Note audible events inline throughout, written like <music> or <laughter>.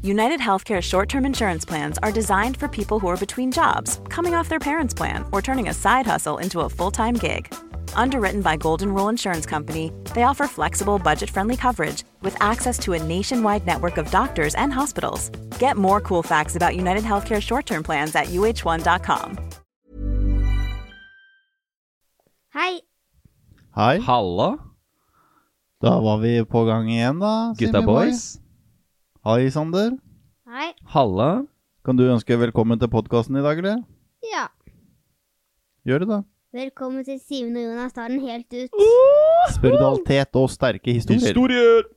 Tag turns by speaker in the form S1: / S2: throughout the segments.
S1: United Healthcare short term insurance plans are designed for people who are between jobs, coming off their parents' plan, or turning a side hustle into a full time gig. Underwritten by Golden Rule Insurance Company, they offer flexible, budget friendly coverage with access to a nationwide network of doctors and hospitals. Get more cool facts about United Healthcare short term plans at uh1.com.
S2: Hei.
S3: Hei,
S4: Hallo,
S3: da var vi på gang igjen da,
S5: Gutta
S3: Simi
S5: boys.
S3: Hei, Sander.
S2: Hei.
S5: Halla.
S3: Kan du ønske velkommen til podkasten i dag, eller?
S2: Ja.
S3: Gjør det da.
S2: Velkommen til Simen og Jonas tar den helt ut.
S3: Spiritualitet og sterke historier.
S5: Historier!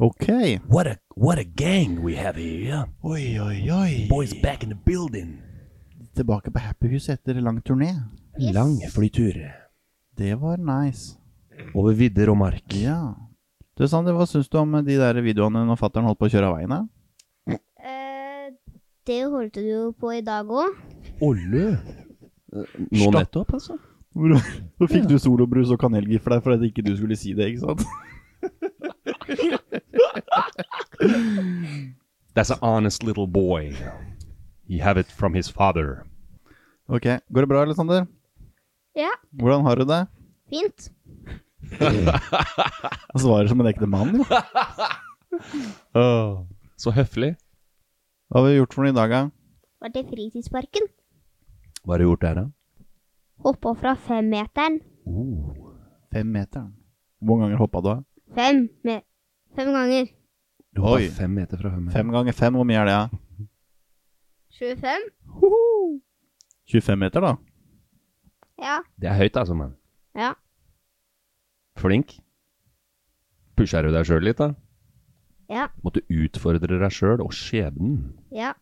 S3: Ok.
S6: What a what a gang we have here, yeah.
S3: Oi, oi, oi.
S6: Boys back in the building.
S3: Tilbake på Happyhus etter lang turné.
S6: Lang flytur
S3: Det var nice.
S6: over vidder og mark.
S3: Ja. Du, Sander, hva syns du om de der videoene når fattern holdt på å kjøre av veien? da?
S2: Eh, det holdt du jo på i dag òg.
S6: Ollø.
S5: Nå
S6: Stopp.
S5: nettopp, altså.
S3: Så fikk du solobrus og kanelgifler fordi ikke du skulle si det, ikke sant?
S5: That's an honest little boy. He have it from his father.
S3: Ok. Går det bra, eller, Sander?
S2: Ja.
S3: Hvordan har du det?
S2: Fint.
S3: Han svarer som en ekte mann, jo.
S5: Åh, Så høflig.
S3: Hva har vi gjort for noe i dag, da?
S2: Var til fritidsparken.
S5: Hva har du gjort der, da?
S2: Hoppa fra femmeteren.
S3: Oh. Fem meter. Hvor mange ganger hoppa du av?
S2: Fem. Med fem ganger.
S5: Du var
S3: Oi.
S5: fem meter fra hømmen.
S3: Fem ganger fem, hvor mye er det? Ja?
S2: 25?
S3: 25 meter, da.
S2: Ja.
S5: Det er høyt, altså, mann.
S2: Ja.
S5: Flink. Pusher du deg sjøl litt, da?
S2: Ja.
S5: Måtte utfordre deg sjøl og skjebnen.
S2: Ja.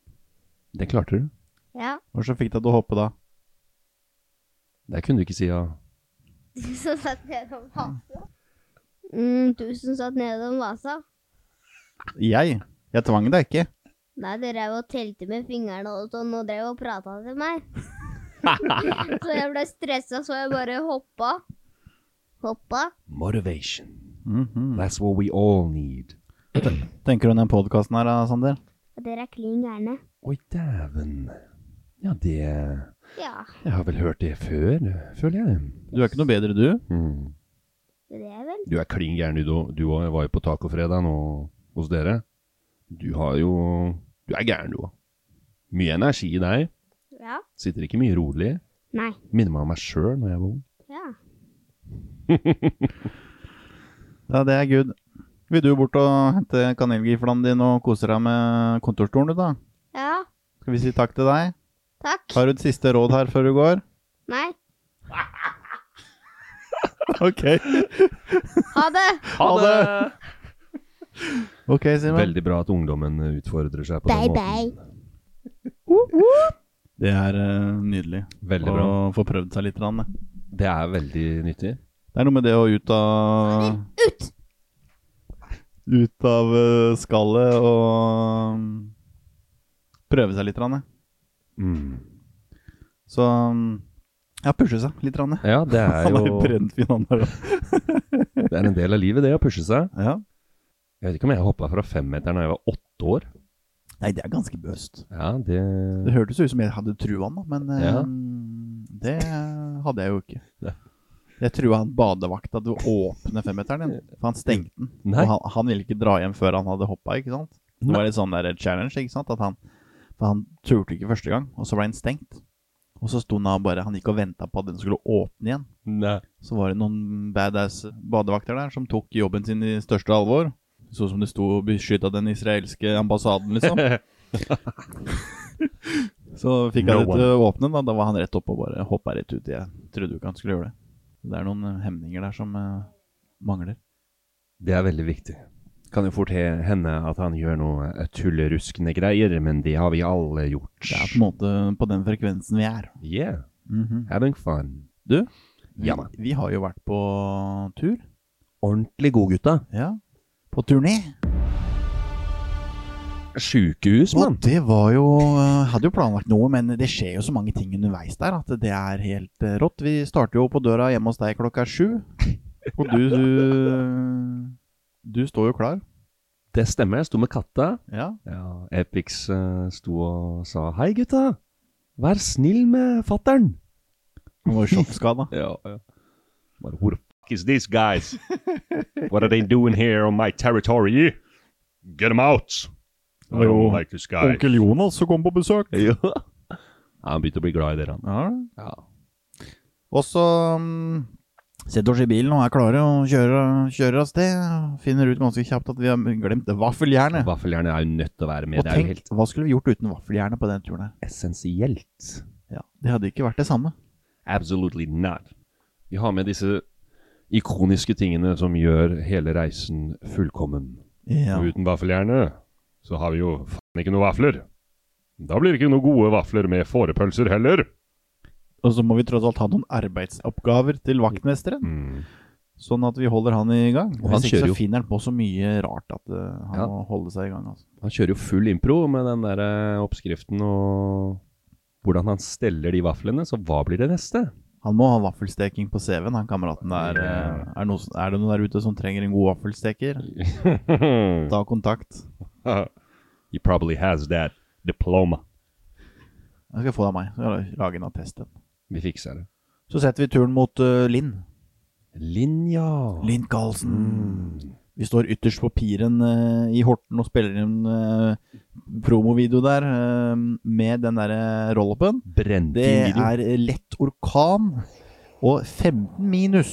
S5: Det klarte du.
S2: Ja. <laughs>
S3: Hva så fikk deg til å hoppe da?
S5: Det kunne du ikke si ja.
S2: Du som satt nedom vasa. Mm, du som satt nedom vasa.
S3: Jeg? Jeg tvang deg ikke.
S2: Nei, du drev og telte med fingrene og sånn, og drev og prata til
S5: <laughs>
S2: meg. så jeg ble stressa, så jeg bare hoppa. Hoppa.
S6: Motivation.
S3: Mhm.
S5: That's what we all need.
S3: Tenker du om den podkasten her, da, Sander?
S2: Og dere er klin gærne.
S5: Oi, dæven. Ja, det Jeg
S2: Ja,
S5: har vel hørt det før, føler jeg.
S3: Du er ikke noe bedre, du.
S5: Mm.
S2: det er vel.
S5: Du er klin gæren, du òg. Du òg. Jeg var jo på tacofredag nå hos dere. Du har jo Du er gæren, du òg. Mye energi i deg.
S2: Ja.
S5: Sitter ikke mye rolig.
S2: Nei.
S5: Minner meg om meg sjøl når jeg var ung.
S2: Ja.
S3: Ja, det er good. Vil du bort og hente kanelgiflaen din og kose deg med kontorstolen, du, da?
S2: Ja,
S3: Skal vi si takk til deg?
S2: takk.
S3: Har du et siste råd her før du går?
S2: Nei.
S3: <laughs> Ok.
S2: Ha det!
S5: Ha det!
S3: Ok, Simen.
S5: Veldig bra at ungdommen utfordrer seg på
S2: Bye,
S5: den måten.
S2: bye.
S3: Det er eh, nydelig
S5: Veldig bra.
S3: å få prøvd seg litt. grann, det.
S5: Det er veldig nyttig.
S3: Det er noe med det å ut av
S2: Ut!
S3: Ut av eh, skallet og mm, prøve seg litt. grann, det.
S5: Mm.
S3: Så mm, ja, pushe seg litt. grann, det.
S5: Ja, det er <laughs>
S3: Han er
S5: jo
S3: jo brennfin, han der.
S5: Det er en del av livet, det, å pushe seg.
S3: Ja.
S5: Jeg vet ikke om jeg hoppa fra femmeteren da jeg var åtte år.
S3: Nei, det er ganske bøst.
S5: Ja, det
S3: Det hørtes ut som jeg hadde trua han, da, men eh,
S5: Ja.
S3: det hadde jeg jo
S5: <laughs>
S3: ikke.
S5: Nei.
S3: Jeg trua han badevakta til å åpne femmeteren igjen, for han stengte den.
S5: Nei.
S3: Og han, han ville ikke dra hjem før han hadde hoppa, ikke sant? Det var litt sånn der challenge, ikke sant? At han, for han turte ikke første gang, og så ble han stengt. Og så sto han da bare Han gikk og venta på at den skulle åpne igjen.
S5: Nei.
S3: Så var det noen badass badevakter der som tok jobben sin i største alvor. Så som det sto og beskytta den israelske ambassaden, liksom.
S5: <laughs>
S3: Så fikk
S5: No
S3: han det til å åpne, da. Da var han rett opp og bare hoppa rett ut. Jeg trodde jo ikke han skulle gjøre det. Det er noen eh, hemninger der som eh, mangler.
S5: Det er veldig viktig. Kan jo fort he- hende at han gjør noe tulleruskende greier, men det har vi alle gjort.
S3: Det er på en måte på den frekvensen vi er.
S5: Yeah,
S3: Mhm.
S5: having fun.
S3: Du,
S5: Ja,
S3: vi, vi har jo vært på tur.
S6: Ordentlig god, gutta.
S3: Ja. På turné.
S5: Sjukehus,
S3: Og
S5: mann.
S3: det var jo eh, Hadde jo planlagt noe, men det skjer jo så mange ting underveis der at det er helt eh, rått. Vi starter jo på døra hjemme hos deg klokka sju, og du Du, du står jo klar.
S5: Det stemmer, jeg sto med katta.
S3: Ja.
S5: Ja, Epix eh, sto og sa 'Hei, gutta. Vær snill med fatter'n'.
S3: Han var jo <laughs> sjokkskada.
S5: Ja, ja. Bare, Who the fuck is these guys? What are they doing here on my territory? Get them out! I
S3: Det var jo
S5: don't like this guy.
S3: Jonas som kom på besøk.
S5: Ja. Ja, han begynte å bli glad i dere, han.
S3: Ja.
S5: Ja.
S3: Og så mm, setter oss i bilen og er klare og kjører, kjører av sted. Finner ut ganske kjapt at vi har glemt vaffeljernet.
S5: Vaffeljernet er jo nødt til å være med.
S3: Og
S5: Det er jo
S3: tenk,
S5: helt
S3: hva skulle vi gjort uten vaffeljernet på den turen her?
S5: essensielt.
S3: Ja, Det hadde ikke vært det samme.
S5: Absolutely not. Vi har med disse ikoniske tingene som gjør hele reisen fullkommen.
S3: Ja.
S5: Og uten vaffeljerne så har vi jo faen ikke noe vafler. Da blir det ikke noe gode vafler med fårepølser heller.
S3: Og så må vi tross alt ha noen arbeidsoppgaver til vaktmesteren,
S5: Mm.
S3: sånn at vi holder han i gang.
S5: Og han
S3: Hvis ikke
S5: kjører
S3: så
S5: jo.
S3: finner han på så mye rart at eh, han
S5: Ja.
S3: må holde seg i gang. Altså.
S5: Han kjører jo full impro med den der eh, oppskriften og hvordan han steller de vaflene, så hva blir det <laughs> neste?
S3: Han må ha vaffelsteking på CV-en, han kameraten der. eh, Er, noe, er det noen der ute som trenger en god vaffelsteker? Ta kontakt.
S5: He probably has that diploma.
S3: Jeg skal få det av meg. Så skal jeg lage en attest. en.
S5: Vi fikser det.
S3: Så setter vi turen mot eh, Linn.
S5: Linja!
S3: Linn Karlsen.
S5: Mm.
S3: Vi står ytterst på piren eh, i Horten og spiller en eh, promovideo der eh, med den derre roll-upen.
S5: Brente
S3: Det
S5: video.
S3: er eh, lett orkan og 15 minus.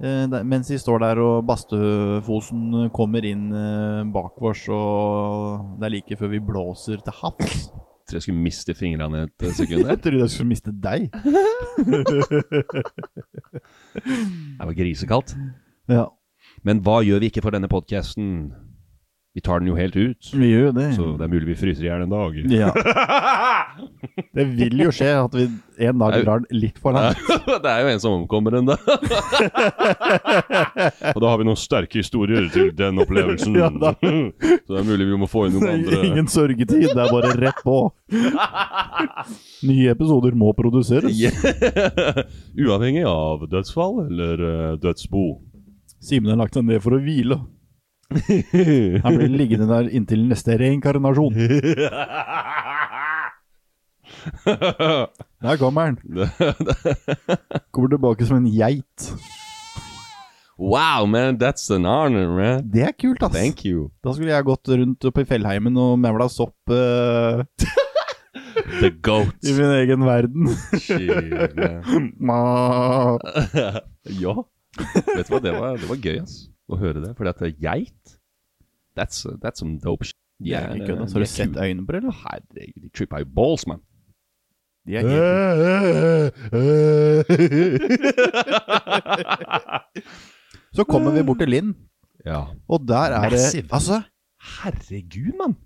S3: Eh, der- Mens vi står der og Bastøfosen kommer inn eh, bak oss, og det er like før vi blåser til
S5: <laughs>
S3: havs.
S5: tror jeg skulle miste fingrene et eh, sekund der.
S3: Jeg trodde jeg skulle miste deg.
S5: Det var grisekaldt.
S3: Ja,
S5: Men hva gjør vi ikke for denne podkasten? Vi tar den jo helt ut,
S3: vi gjør jo det.
S5: så det er mulig vi fryser i hjel en dag.
S3: Ja.
S5: <laughs>
S3: Det vil jo skje at vi en dag drar den litt for langt.
S5: det er jo en som omkommer
S3: <laughs>
S5: ennå. Og da har vi noen sterke historier til den opplevelsen.
S3: <laughs> Ja, da.
S5: så det er mulig vi må få
S3: <laughs>
S5: inn noen andre.
S3: Ingen sørgetid, det er bare rett
S5: <laughs>
S3: på. Nye episoder må produseres.
S5: Uavhengig av dødsfall eller eh,
S3: <laughs>
S5: dødsbo.
S3: Simen har lagt seg ned for å hvile. Han blir liggende der inntil neste reinkarnasjon. Der kommer <laughs> han. Kommer tilbake som en geit.
S5: wow, man, that's an honor, man.
S3: Det er kult, ass.
S5: Thank you.
S3: Da skulle jeg gått rundt oppe i fjellheimen og mevla sopp eh,
S5: The goat.
S3: i min egen verden.
S5: <laughs>
S3: <laughs>
S5: Shit, man.
S3: Ma.
S5: Ja. Vet du hva, det var, det var gøy ass, å høre det. Fordi at det er geit That's, that's some dope shit. De
S3: Det
S5: er-
S3: er ikke kødd, ass.
S5: de
S3: Har
S5: er
S3: du sett
S5: kule.
S3: øynene på det, eller?
S5: Herregud, de trippa jo balls, man.
S3: De er helt Så kommer vi bort til Linn,
S5: Ja.
S3: og der er det
S5: Massive.
S3: Altså,
S5: Herregud, mann.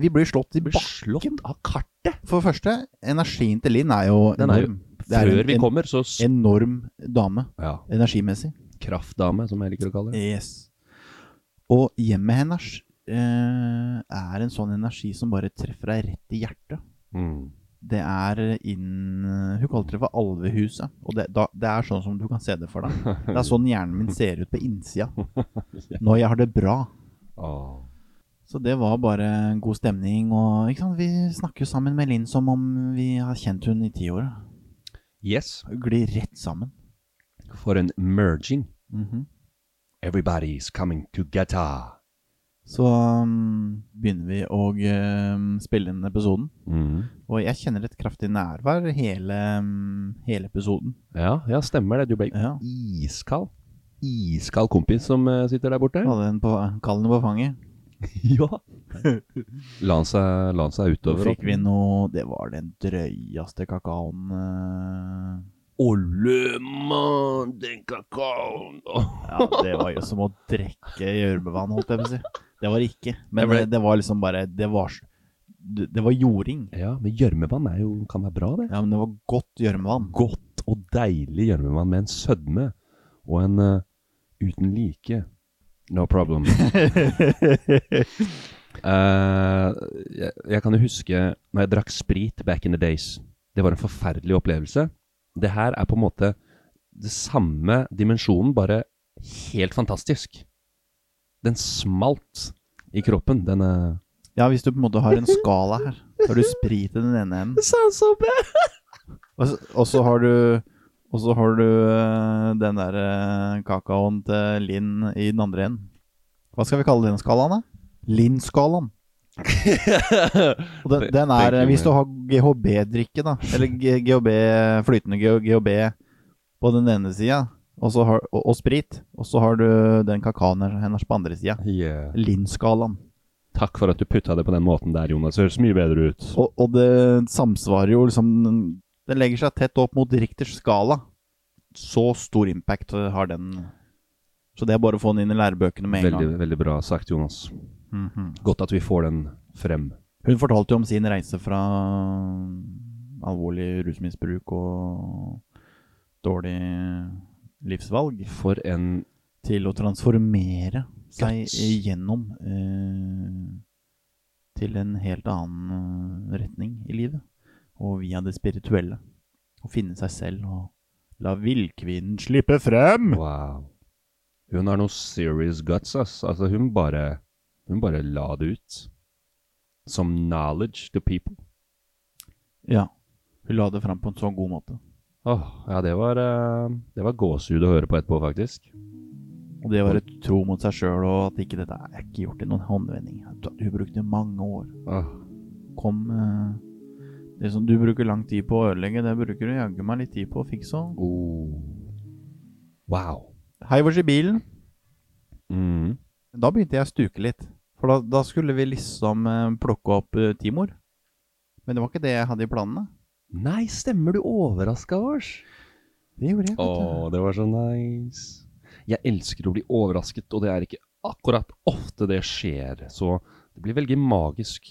S3: vi blir slått i
S5: Blir
S3: bakken.
S5: slått av kartet.
S3: For det første, energien til Linn er jo
S5: Den er jo-
S3: enorm. Det er
S5: Før
S3: en,
S5: vi
S3: en
S5: kommer, så s-
S3: enorm dame,
S5: Ja.
S3: energimessig.
S5: Kraftdame, som jeg liker å kalle det.
S3: Yes. Og hjemmet hennes eh, er en sånn energi som bare treffer deg rett i hjertet.
S5: Mm.
S3: Det er inn Hun kalte det for alvehuset. Og det, da, det er sånn som du kan se det for deg.
S5: Ah.
S3: Det er sånn hjernen min ser ut på innsida. Når jeg har det bra,
S5: Åh.
S3: Så det var bare en god stemning. Og ikke sant? vi snakker jo sammen med Linn som om vi har kjent hun i ti år. da.
S5: Yes.
S3: Glir rett sammen.
S5: For en merging.
S3: Mhm.
S5: Everybody's coming together.
S3: Så um, begynner vi å um, spille inn episoden.
S5: Mhm.
S3: Og jeg kjenner et kraftig nærvær hele, um, hele episoden.
S5: Ja, ja, stemmer det. Du ble
S3: Ja.
S5: iskald. Iskald kompis som eh, sitter der borte.
S3: Hadde den på, kallen på fanget.
S5: ja. La han seg, la han seg
S3: Så
S5: utover. altså.
S3: fikk vi noe Det var den drøyeste kakaoen eh.
S5: Olle, mann, den kakaoen.
S3: Ja, det var jo som å drikke gjørmevann, holdt jeg på å si. Det var det ikke. Men
S5: Jeg ble-
S3: det, det var liksom bare Det var, s- det det var jording.
S5: Ja, men gjørmevann er jo, kan være bra, det.
S3: Ja, men det var godt
S5: <laughs>
S3: gjørmevann.
S5: Godt og deilig gjørmevann med en sødme og en eh, uten like. No problem. Eh, jeg, jeg kan jo huske når jeg drakk sprit back in the days. Det var en forferdelig opplevelse. Det her er på en måte det samme dimensjonen, bare helt fantastisk. Den smalt i kroppen, eh, denne
S3: Ja, hvis du på en måte har en skala her, så har du sprit i den ene enden, og så- og så har du og så har du eh, den der eh, kakaoen til Linn i den andre enden. Hva skal vi kalle den skalaen, da? <laughs> Linn-skalaen. Og den, den
S5: Thank
S3: er
S5: you,
S3: Hvis du
S5: man.
S3: har GHB-drikke, da, eller G- GHB, flytende G- GHB på den ene sida, og, så har- og, og sprit, og så har du den kakaoen her- hennes på andre sida.
S5: Yeah.
S3: Linn-skalaen.
S5: Takk for at du putta det på den måten der, Jonas. Høres mye bedre ut.
S3: Og, og det samsvarer jo liksom Den legger seg tett opp mot Richters skala. Så stor impact eh, har den. Så det er bare å få den inn i lærebøkene med en
S5: Veldig,
S3: gang.
S5: veldig bra sagt, Jonas.
S3: Mhm.
S5: Godt at vi får den frem.
S3: Hun fortalte jo om sin reise fra alvorlig rusmisbruk og dårlig livsvalg
S5: For en
S3: til å transformere seg
S5: Guts.
S3: gjennom eh, til en helt annen eh, retning i livet. Og via det spirituelle. Å finne seg selv og la villkvinnen slippe
S5: <laughs>
S3: frem!
S5: Wow. Hun har noe serious guts, ass. Altså, hun bare Hun bare la det ut. Som knowledge to people.
S3: Ja. Hun la det frem på en så god måte.
S5: Åh, ja, det var eh, Det var gåsehud å høre på etterpå, faktisk.
S3: Og det var et tro mot seg sjøl, og at ikke dette er ikke gjort i noen håndvending. Hun brukte mange år.
S5: Åh,
S3: Kom eh, Det som du bruker lang tid på å ødelegge, det bruker du jaggu meg litt tid på å fikse òg.
S5: Oh. Wow.
S3: Heiv oss i bilen.
S5: Mm.
S3: Da begynte jeg å stuke litt. For da, da skulle vi liksom eh, plukke opp eh, Timor. Men det var ikke det jeg hadde i planene.
S5: Nei, stemmer du overraska oss?
S3: Det gjorde jeg.
S5: Å,
S3: vet du.
S5: det var så nice. Jeg elsker å bli overrasket, og det er ikke akkurat ofte det skjer. Så det blir veldig magisk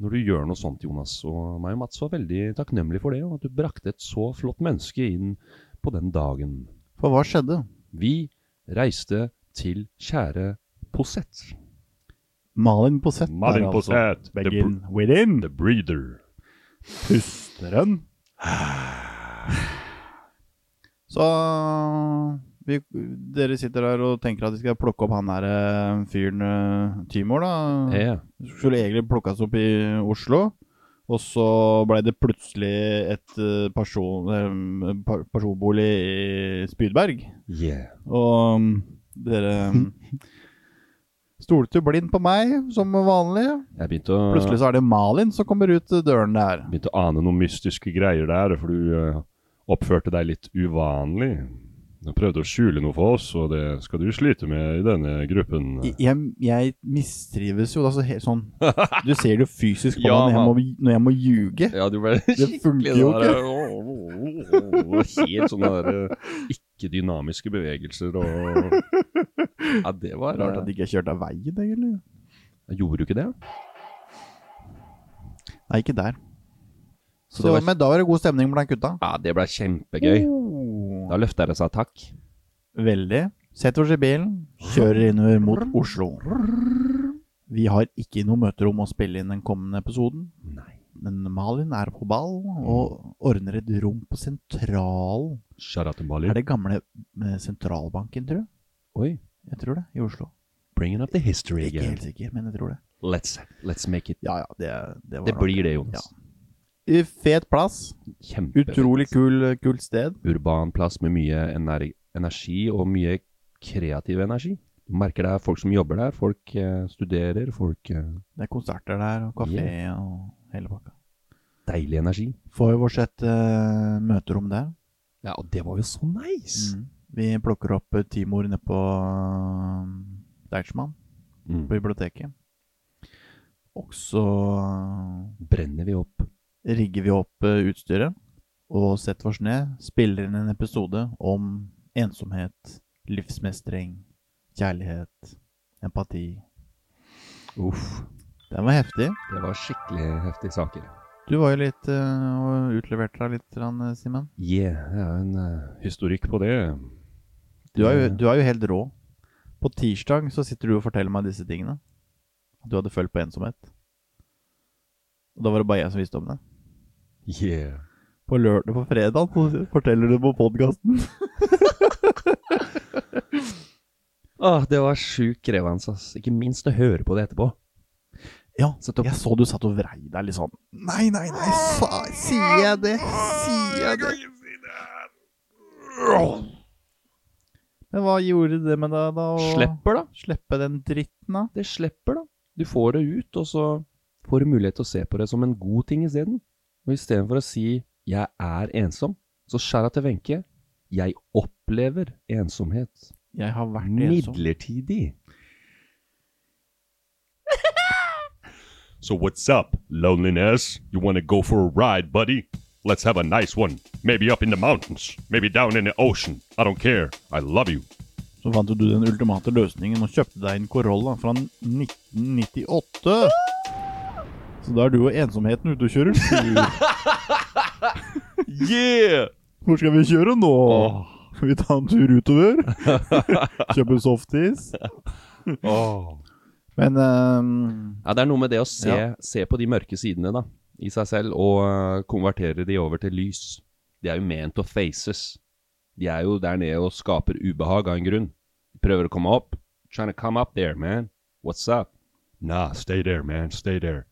S5: når du gjør noe sånt, Jonas. Og meg og Mats var veldig takknemlige for det, og at du brakte et så flott menneske inn på den dagen.
S3: For hva skjedde?
S5: Vi reiste til kjære Posett.
S3: Malin Posett. der, altså. Begin within.
S5: the breeder.
S3: Pusteren. Så vi, dere sitter der og tenker at vi skal plukke opp han der eh, fyren eh, Timor, da.
S5: Ja,
S3: skulle egentlig plukkes opp i Oslo. Og så ble det plutselig et eh, person, eh, par- personbolig i Spydberg.
S5: yeah.
S3: Og mm, dere mm, stolte jo blind på meg, som vanlig.
S5: Jeg begynte å,
S3: Plutselig så er det Malin som kommer ut døren der.
S5: begynte å ane noen mystiske greier der, for du eh, oppførte deg litt uvanlig. Du prøvde å skjule noe for oss, og det skal du slite med i denne gruppen.
S3: Jeg, jeg- jeg mistrives jo. Altså, helt
S5: <laughs>
S3: sånn, du ser det jo fysisk på
S5: Ja,
S3: meg når jeg, må, når jeg må ljuge.
S5: Ja, du ble
S3: Det funker jo
S5: sånn der, «Åh, åh, åh», <laughs> Helt sånne der, eh, ikke-dynamiske bevegelser og
S3: <laughs>
S5: Ja, det var
S3: Rart at
S5: rart.
S3: de ikke kjørte av veien, egentlig.
S5: Gjorde du ikke det?
S3: Nei, ikke der.
S5: Så
S3: Så,
S5: det var-
S3: Men da var det god stemning blant gutta.
S5: Ja, det ble kjempegøy.
S3: Oh.
S5: Da løfta jeg og sa takk.
S3: Veldig. Setter oss i bilen, kjører innover mot Oslo. Vi har ikke noe møterom å spille inn den kommende episoden.
S5: Nei.
S3: Men Malin er på ball og ordner et rom på Sentralen.
S5: Shara til
S3: Er
S5: Mali.
S3: det gamle eh, sentralbanken, tror jeg?
S5: Oi.
S3: Jeg tror det, i Oslo.
S5: Bringing up the history
S3: Ikke
S5: again.
S3: helt sikker, men jeg tror det.
S5: Let's, let's make it
S3: Ja, ja, det, det, var
S5: Det
S3: nok
S5: blir det, Jonas.
S3: I Fet plass.
S5: Kjempefett.
S3: Utrolig kul, kult sted.
S5: Urban plass med mye ener energi, og mye kreativ energi. Du merker det er folk som jobber der, folk eh, studerer, folk eh,
S3: Det er konserter der, og kafé og hele pakka.
S5: Deilig energi.
S3: Får jo vårt sett eh, møterom der.
S5: Ja, og det var jo så nice!
S3: Vi plukker opp eh, Timor nede på eh, Deichman,
S5: Mm.
S3: på biblioteket. Og så
S5: Brenner vi opp.
S3: rigger vi opp eh, utstyret og setter oss ned. Spiller inn en episode om ensomhet, livsmestring, kjærlighet, empati.
S5: Uff.
S3: Den var heftig.
S5: Det var skikkelig heftige saker.
S3: Du var jo litt eh, og utleverte deg litt, grann, eh, Simen.
S5: Yeah, det er en eh, historikk på det.
S3: Du er, jo, du er jo helt rå. På tirsdag så sitter du og forteller meg disse tingene. At du hadde følt på ensomhet. Og da var det bare jeg som visste om det.
S5: Yeah.
S3: På lørdag på fredag så forteller du på podkasten.
S5: Ah, det var sjukt krevende, ass. Ikke minst å høre på det etterpå.
S3: <laughs> Ja,
S5: Så topp.
S3: jeg så du satt og vrei deg litt sånn. Nei, nei, nei, sa, sier jeg det? Sier jeg det? Men hva gjorde det med deg, da? å
S5: Slipper, da.
S3: Slippe den dritten, da?
S5: Det slipper, da. Du får det ut, og så får du mulighet til å se på det som en god ting isteden. Og istedenfor å si 'jeg er ensom', så skjæra til Wenche 'jeg opplever ensomhet'.
S3: Jeg har
S6: Er
S3: vært ensom.
S5: Midlertidig.
S6: <laughs> So what's up, loneliness? You want to go for a ride, buddy? Let's have a nice one. Maybe up in the mountains, maybe down in the ocean. I don't care. I love you.
S3: Så fant jo du den ultimate løsningen og kjøpte deg en Corolla fra 1998. Så da er du og ensomheten ute og kjører tur.
S6: Yeah!
S3: Hvor skal vi kjøre nå? Skal vi ta en tur utover? <laughs> Kjøpe softis? Men ehm,
S5: Ja, det er noe med det å se,
S3: Ja.
S5: se på de mørke sidene da, i seg selv, og øh, konvertere de over til lys. De er jo ment å faces. De er jo der nede og skaper ubehag av en grunn. De prøver å komme opp. Trying to come up there, man. What's up?
S6: Nah, stay there, man. Stay there.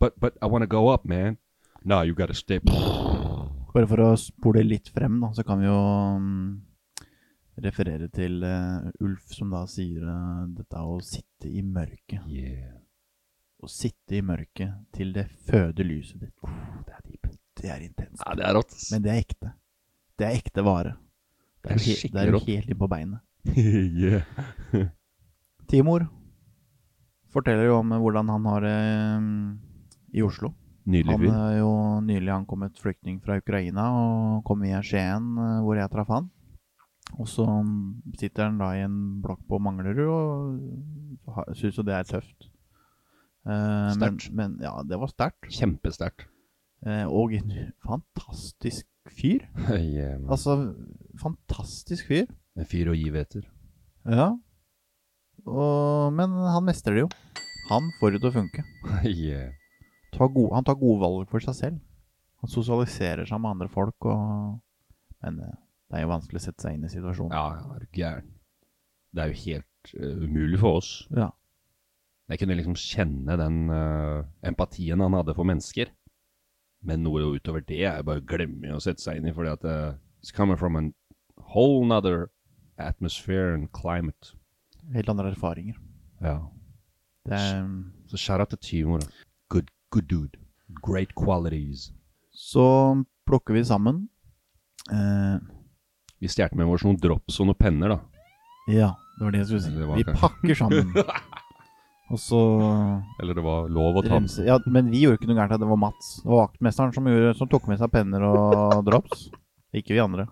S5: But, but I want to go up, man.
S6: Nah, you gotta stay.
S3: bare for å spole litt frem, da, så kan vi jo mm, referere til eh, Ulf, som da sier eh, dette å sitte i mørket.
S5: <laughs> Yeah.
S3: Å sitte i mørket til det føder lyset ditt. det er deep. Det er intenst.
S5: Ja, det er rått. ass.
S3: Men det er ekte. Det er ekte vare.
S5: Det er
S3: jo he- det
S5: skikkelig
S3: er jo
S5: rått.
S3: helt inn på beinet.
S5: <laughs> yeah.
S3: Timor forteller jo om hvordan han har det eh, i Oslo.
S5: Nydelig
S3: Han eh,
S5: fyr.
S3: er jo nylig ankommet flyktning fra Ukraina og kom via Skien, eh, hvor jeg traff han. Og så mm, sitter han da i en blokk på Manglerud og ha- syns jo det er tøft. Eh, men,
S5: Sterkt.
S3: men ja, det var sterkt.
S5: Kjempesterkt.
S3: Eh, og en fantastisk fyr.
S5: <laughs> yeah, man.
S3: Altså, fantastisk fyr.
S5: en fyr å give etter.
S3: Ja. Og, men han mestrer det jo. Han får det til å funke.
S5: <laughs> yeah.
S3: Tar gode, han tar gode valg for seg selv. Han sosialiserer seg med andre folk. Og, men eh, det er jo vanskelig å sette seg inn i situasjonen.
S5: Ja, ja, er du gæren. Det er jo helt øh, umulig for oss.
S3: Ja.
S5: Jeg kunne liksom kjenne den øh, empatien han hadde for mennesker. Men noe utover det er bare å glemme å sette seg inn i, fordi at uh, it's coming from a whole nother atmosphere and climate.
S3: Helt andre erfaringer.
S5: Ja.
S3: Det er,
S5: Så shout out til Timor. da. Good, good dude. Great qualities.
S3: så plukker vi sammen. Eh,
S5: Vi stjal med oss noen drops og noen penner, da.
S3: ja, det var det jeg skulle si.
S5: Det var
S3: Vi
S5: kanskje-
S3: pakker sammen.
S5: <laughs>
S3: Og så
S5: Eller det var lov å ta med.
S3: renser Ja, men vi gjorde ikke noe gærent. Det var Mats, det var vaktmesteren, som, gjorde, som tok med seg penner og drops. Ikke vi andre.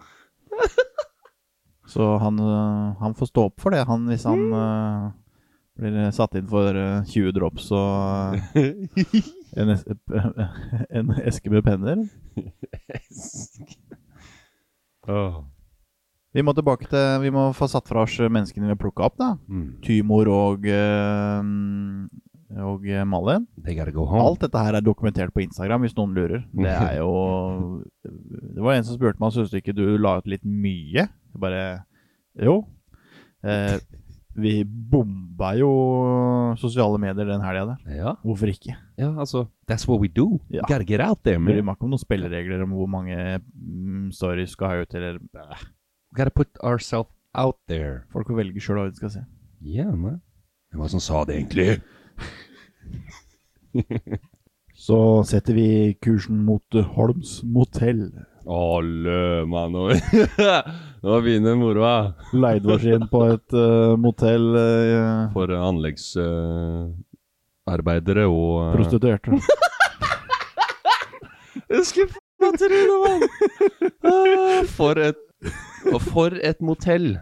S3: Så han, øh, han får stå opp for det, han, hvis han øh, blir øh, satt inn for øh, 20 drops og øh, en, es <laughs> en eske med penner. Vi må tilbake til Vi må få satt fra oss menneskene vi har plukka opp, da.
S5: Mm.
S3: Tymor og øh, og øh, Malin.
S5: They gotta go home.
S3: Alt dette her er dokumentert på Instagram, hvis noen lurer. Det <laughs> er jo Det var en som spurte meg Synes du ikke du la ut litt mye. Jeg bare Jo. Eh, Vi bomba jo sosiale medier den helga der.
S5: Ja,
S3: Hvorfor ikke?
S5: ja, altså That's what we do.
S3: Ja.
S5: Gotta get out there,
S3: Det blir
S5: man.
S3: ikke noen spilleregler om hvor mange mm, stories skal ha ut, eller Bæh.
S5: Gotta put ourselves out there.
S3: Folk får velge sjøl hva de skal se.
S5: Yeah, man. Hvem var det som sa det, egentlig?
S3: Så setter vi kursen mot eh, Holms motell.
S5: Alle,
S6: <laughs>
S5: mann. Nå begynner moroa.
S3: Leide oss inn på et eh, motell eh,
S5: For
S6: eh,
S5: anleggsarbeidere og eh,
S3: <laughs> prostituerte.
S5: Husker faen trynet, mann! Ah, For et og For et motell.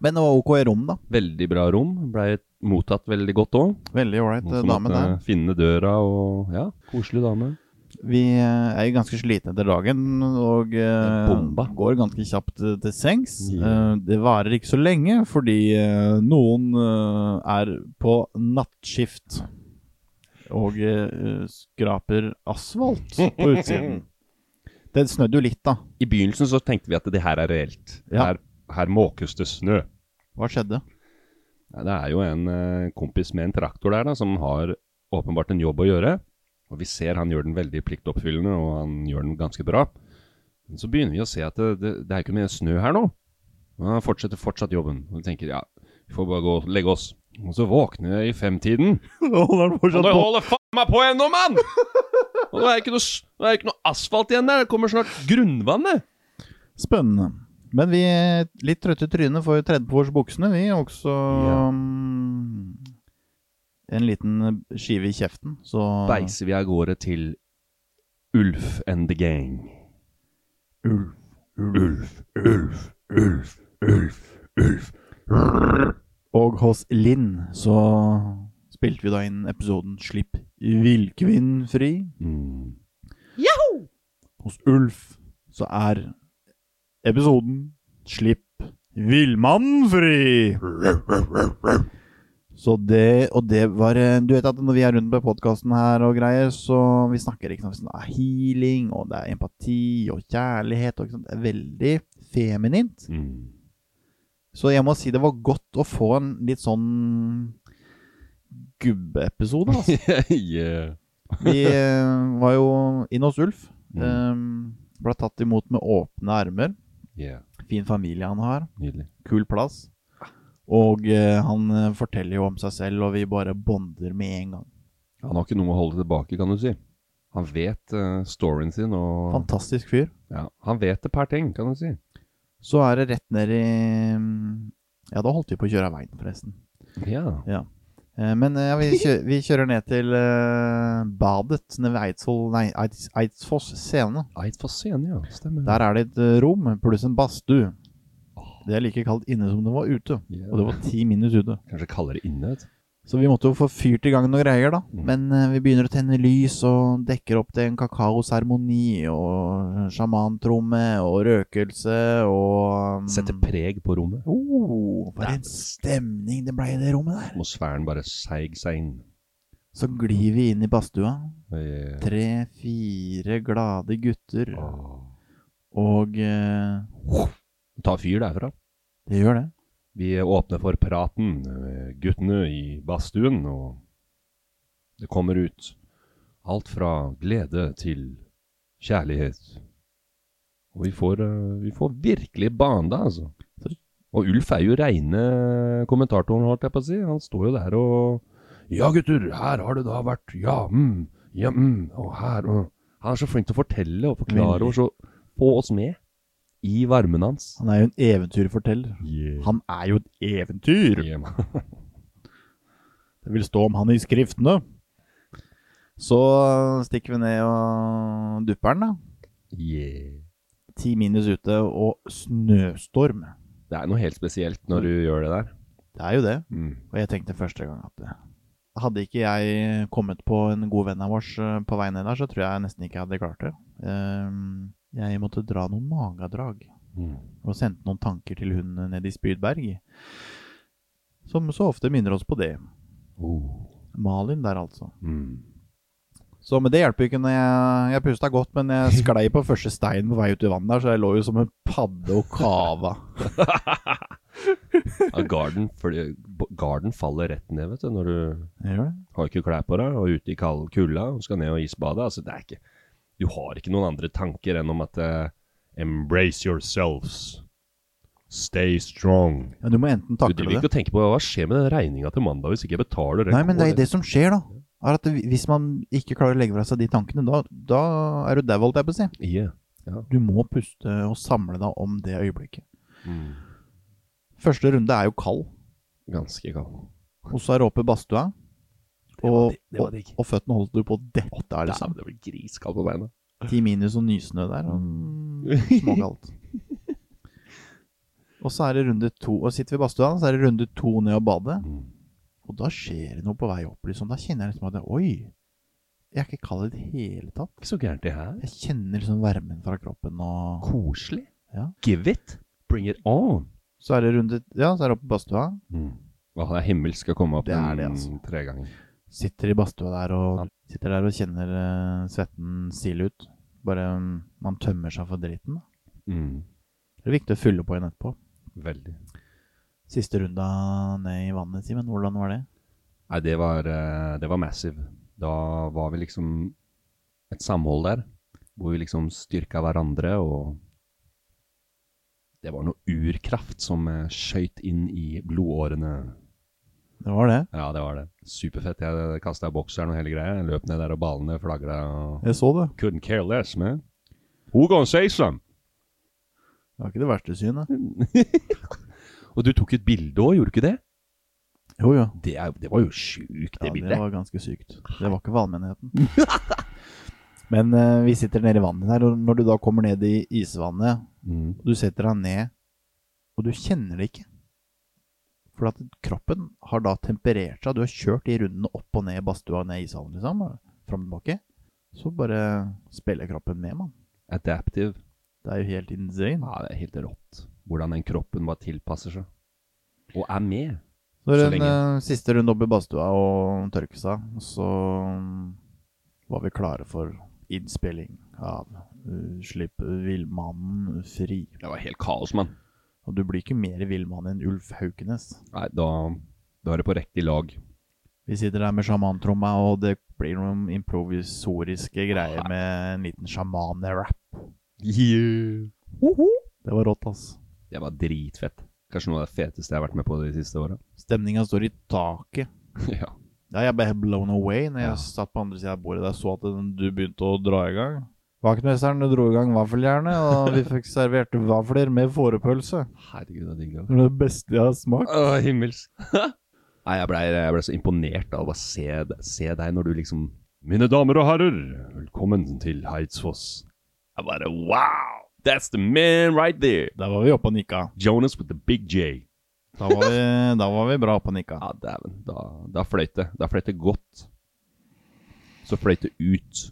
S3: Men det var OK rom, da.
S5: Veldig bra rom. Blei mottatt veldig godt òg.
S3: Veldig ålreit eh, dame der.
S5: Finne døra og Ja, koselig dame.
S3: Vi eh, er jo ganske slitne etter dagen og eh,
S5: Bomba.
S3: går ganske kjapt eh, til sengs.
S5: Ja.
S3: Eh, det varer ikke så lenge fordi eh, noen eh, er på nattskift og eh, skraper asfalt på utsiden.
S5: <laughs>
S3: Det snødde jo litt, da.
S5: I begynnelsen så tenkte vi at det her er reelt.
S3: Ja.
S5: Her,
S6: Her måkes det snø.
S3: Hva skjedde?
S5: Nei, Det er jo en eh, kompis med en traktor der da, som har åpenbart en jobb å gjøre. Og vi ser han gjør den veldig pliktoppfyllende, og han gjør den ganske bra. Men så begynner vi å se at det, det, det er ikke mye snø her nå. Og han fortsetter fortsatt jobben. Og vi tenker ja, vi får bare gå og legge oss. Og så våkner jeg i femtiden. Og <laughs> nå holder faen meg på ennå, mann! Og nå er det ikke noe, s- nå er det ikke noe asfalt igjen der. Det kommer snart <laughs> grunnvannet.
S3: Spennende. Men vi er litt trøtte i trynet for tredje på vårs buksene, vi er også
S5: Ja.
S3: mm, en liten skive i kjeften. Så
S5: Beiser vi av gårde til Ulf and the gang.
S3: Ulv.
S5: Ulf, Ulf, Ulf, Ulf, Ulf.
S3: Og hos Linn så spilte vi da inn episoden 'Slipp villkvinnen fri'.
S5: Mm.
S3: Hos Ulf så er episoden 'Slipp villmannen fri'. Så det, og det var eh, Du vet at når vi er rundt på podkasten her og greier, så vi snakker ikke sant, det er healing, og det er empati og kjærlighet og ikke sant, Det er veldig feminint.
S5: Mm.
S3: Så jeg må si det var godt å få en litt sånn gubbeepisode. Altså.
S5: <laughs> yeah.
S3: Vi eh, var jo inne hos Ulf. Eh, ble tatt imot med åpne armer.
S5: yeah.
S3: Fin familie han har.
S5: Nydelig.
S3: Kul plass. Og eh, han eh, forteller jo om seg selv, og vi bare bonder med en gang.
S5: Han har ikke noe å holde tilbake, kan du si. Han vet eh, storyen sin, og
S3: Fantastisk fyr.
S5: ja, han vet et par ting, kan du si.
S3: Så er det rett ned i Ja, da holdt vi på å kjøre av veien, forresten.
S5: Ja.
S3: Eh, Men eh, ja, vi, kjø vi kjører ned til eh, badet nede ved Eidsvoll, nei, Eids Eidsfoss scene.
S5: Eidsfoss scene, ja. Stemmer.
S3: Der er det et eh, rom pluss en badstue. Det er like kaldt inne som det var ute.
S5: Ja.
S3: Og det var ti minus ute.
S5: Kanskje kaller det inne, vet du.
S3: Så vi måtte jo få fyrt i gang noen greier, da.
S5: Mm.
S3: Men eh, vi begynner å tenne lys og dekker opp til en kakaoseremoni og sjamantromme og røkelse og mm,
S5: Setter preg på rommet.
S3: oh, For
S5: Ja.
S3: en stemning det ble i det rommet der.
S5: Atmosfæren bare seig seg inn.
S3: Så glir vi inn i badstua.
S5: Yeah.
S3: Tre-fire glade gutter.
S5: Åh.
S3: Og eh,
S5: Ta fyr derfra.
S3: det gjør det.
S5: Vi åpner for praten med guttene i badstuen, og det kommer ut alt fra glede til kjærlighet. Og vi får, eh, vi får virkelig banda, altså. Og Ulf er jo reine kommentatoren, holdt jeg på å si. Han står jo der og Ja, gutter, her har det da vært Ja, mm, ja, mm, og her mm. Han er så flink til å fortelle og forklare
S3: Veldig.
S5: og så få oss med i varmen hans.
S3: Han er jo en eventyrforteller. Han er jo et eventyr!
S5: Yeah, man.
S3: Det vil stå om han i skriftene. Så eh, stikker vi ned og dupper den, da.
S5: yeah.
S3: Ti minus ute og snøstorm.
S5: Det er noe helt spesielt når du gjør det der. Mm.
S3: Det er jo det. Og jeg tenkte første gang at eh, hadde ikke jeg kommet på en god venn av oss eh, på vei ned der, så tror jeg nesten ikke jeg hadde klart det. Ehm, Jeg måtte dra noen magedrag.
S5: Mm.
S3: og sendte noen tanker til hun nede i Spydberg, som så ofte minner oss på det.
S5: Oh.
S3: Malin der, altså.
S5: Mm.
S3: Så men det hjelper jo ikke når jeg Jeg pusta godt, men jeg sklei på første
S5: <laughs>
S3: stein på vei ut i vannet der, så jeg lå jo som en padde og kava.
S5: Ja, garden, fordi, b- garden faller rett ned vet du, når du
S3: Jeg gjør det.
S5: har ikke klær på deg og er ute i kald kulda og skal ned og isbade. Altså, det er ikke, du har ikke noen andre tanker enn om at eh,
S6: Embrace yourselves. Stay strong.
S3: Ja, du må enten
S5: du
S3: takle
S5: driver
S3: det.
S5: ikke og tenker på hva skjer med den regninga til mandag hvis ikke jeg betaler.
S3: Nei, men det er det som skjer, da. Er at Hvis man ikke klarer å legge fra seg de tankene, da, da er du dau, holdt jeg på å si.
S5: Yeah.
S3: Du må puste og samle deg om det øyeblikket.
S5: Mm.
S3: Første runde er jo kald,
S5: Ganske kald.
S3: og så er det oppe i badstua.
S5: var
S3: Og,
S5: digg, det var digg.
S3: og, og føttene holdt du på å dette av, liksom.
S5: Dæven, det blir griskald på beina.
S3: Ti minus og nysnø der, og
S5: <laughs>
S3: småkaldt. Og så er det runde to, og sitter vi i badstua, så er det runde to ned og bade. Og da skjer det noe på vei opp, liksom. Da kjenner jeg liksom at oi, jeg er ikke kald i det hele tatt.
S5: Ikke så gærent det her.
S3: Jeg kjenner liksom varmen fra kroppen og
S5: Koselig.
S3: Ja.
S5: Give it. Bring it on.
S3: Så er det runde, ja, så er det oppe i badstua.
S5: Hva det er himmelsk Mm. å komme opp
S3: Det er det,
S5: den
S3: altså.
S5: tre ganger.
S3: Sitter i badstua der og
S5: Ja.
S3: sitter der og kjenner eh, svetten sile ut. Bare mm, man tømmer seg for driten. da. Det er viktig å fylle på igjen etterpå.
S5: Mm. Veldig.
S3: Siste runda ned i vannet, Simen. Hvordan var det?
S5: Nei, det var, eh, det var massive. Da var vi liksom et samhold der, hvor vi liksom styrka hverandre, og det var noe urkraft som eh, skøyt inn i blodårene.
S3: Det var det.
S5: Ja, det var det. Superfett. Jeg kasta bokseren og hele greia. Jeg løp ned der, og ballene flagra. og-
S3: Jeg så det.
S5: Couldn't care less, man.
S6: Who gonna say some?
S3: Det var ikke det verste synet.
S5: Og du tok et bilde òg, gjorde du ikke det?
S3: Jo, jo.
S5: Det, er, det var jo sjukt, det
S3: Ja,
S5: bildet.
S3: det var ganske sykt. Det var ikke for allmennheten. <laughs> Men eh, vi sitter nede i vannet der, og når du da kommer ned i isvannet,
S5: Mm.
S3: og du setter deg ned, og du kjenner det ikke. For at kroppen har da temperert seg, du har kjørt de rundene opp og ned i badstua og ned i ishallen, liksom, og fram og tilbake. Så bare spiller kroppen med, mann.
S5: Adaptive.
S3: Det er jo helt insane.
S5: Ja, det er helt rått. Hvordan den kroppen bare tilpasser seg. Og er med.
S3: Så
S5: så
S3: en eh, siste runde opp i badstua og tørke seg, og så mm, var vi klare for innspilling av eh, Slipp villmannen fri.
S5: Det var helt kaos, mann.
S3: Og du blir ikke mer villmann enn Ulf Haukenes.
S5: Nei, da, da er det på riktig lag.
S3: Vi sitter der med sjamantromma, og det blir noen improvisoriske greier med en liten sjaman-rap. Det var rått, ass.
S5: Det var dritfett. Kanskje noe av det feteste jeg har vært med på de siste åra.
S3: Stemninga står i taket.
S5: <laughs> ja.
S3: Ja, jeg ble blown away når jeg
S5: Ja.
S3: satt på andre sida av bordet der og så at den- du begynte å dra i gang. Vaktmesteren dro i gang vaffeljernet, og vi fikk servert vafler med fårepølse.
S5: Herregud, det er digg. det.
S3: Det var det beste jeg har smakt.
S5: Å, himmelsk. <laughs> Nei, jeg blei ble så imponert av å bare se, d- se deg når du liksom
S6: Mine damer og herrer, velkommen til Eidsfoss.
S5: Jeg bare wow! That's the man right there!
S3: Der var vi oppe og nikka.
S5: Jonas with the big J.
S3: Da var vi, da var vi bra oppe og nikka.
S5: Ja, dæven. Da, da fløyt det. Da fløyt det godt. Så fløyt det ut.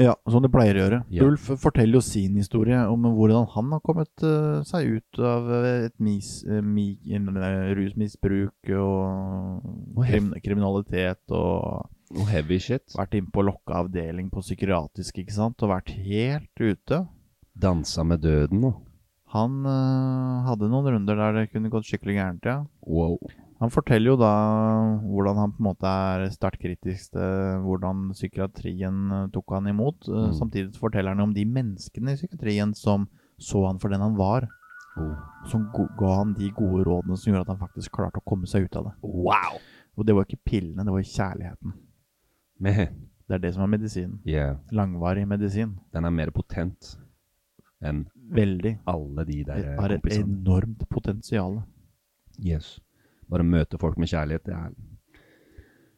S3: Ja, som det pleier å gjøre.
S5: Ja.
S3: Ulf forteller jo sin historie om hvordan han har kommet eh, seg ut av eh, et mis, eh, mi, eh, rusmisbruk og
S5: Og hef-
S3: krim, kriminalitet og
S5: Noe heavy shit.
S3: vært inne på lokka avdeling på psykiatrisk, ikke sant, og vært helt ute.
S5: Dansa med døden nå.
S3: Han øh, hadde noen runder der det kunne gått skikkelig gærent, ja.
S5: Wow.
S3: Han forteller jo da hvordan han på en måte er sterkt kritisk til hvordan psykiatrien øh, tok han imot. øh,
S5: Mm.
S3: Samtidig forteller han om de menneskene i psykiatrien som så han for den han var,
S5: Oh.
S3: som go ga han de gode rådene som gjorde at han faktisk klarte å komme seg ut av det.
S5: Wow!
S3: Og det var ikke pillene, det var kjærligheten.
S5: Man.
S3: Det er det som er medisinen.
S5: Yeah.
S3: Langvarig medisin.
S5: Den er mer potent enn
S3: Veldig.
S5: alle de der
S3: Det
S5: eh,
S3: har et
S5: kompisene.
S3: enormt potensial.
S5: Yes. Bare møte folk med kjærlighet, det er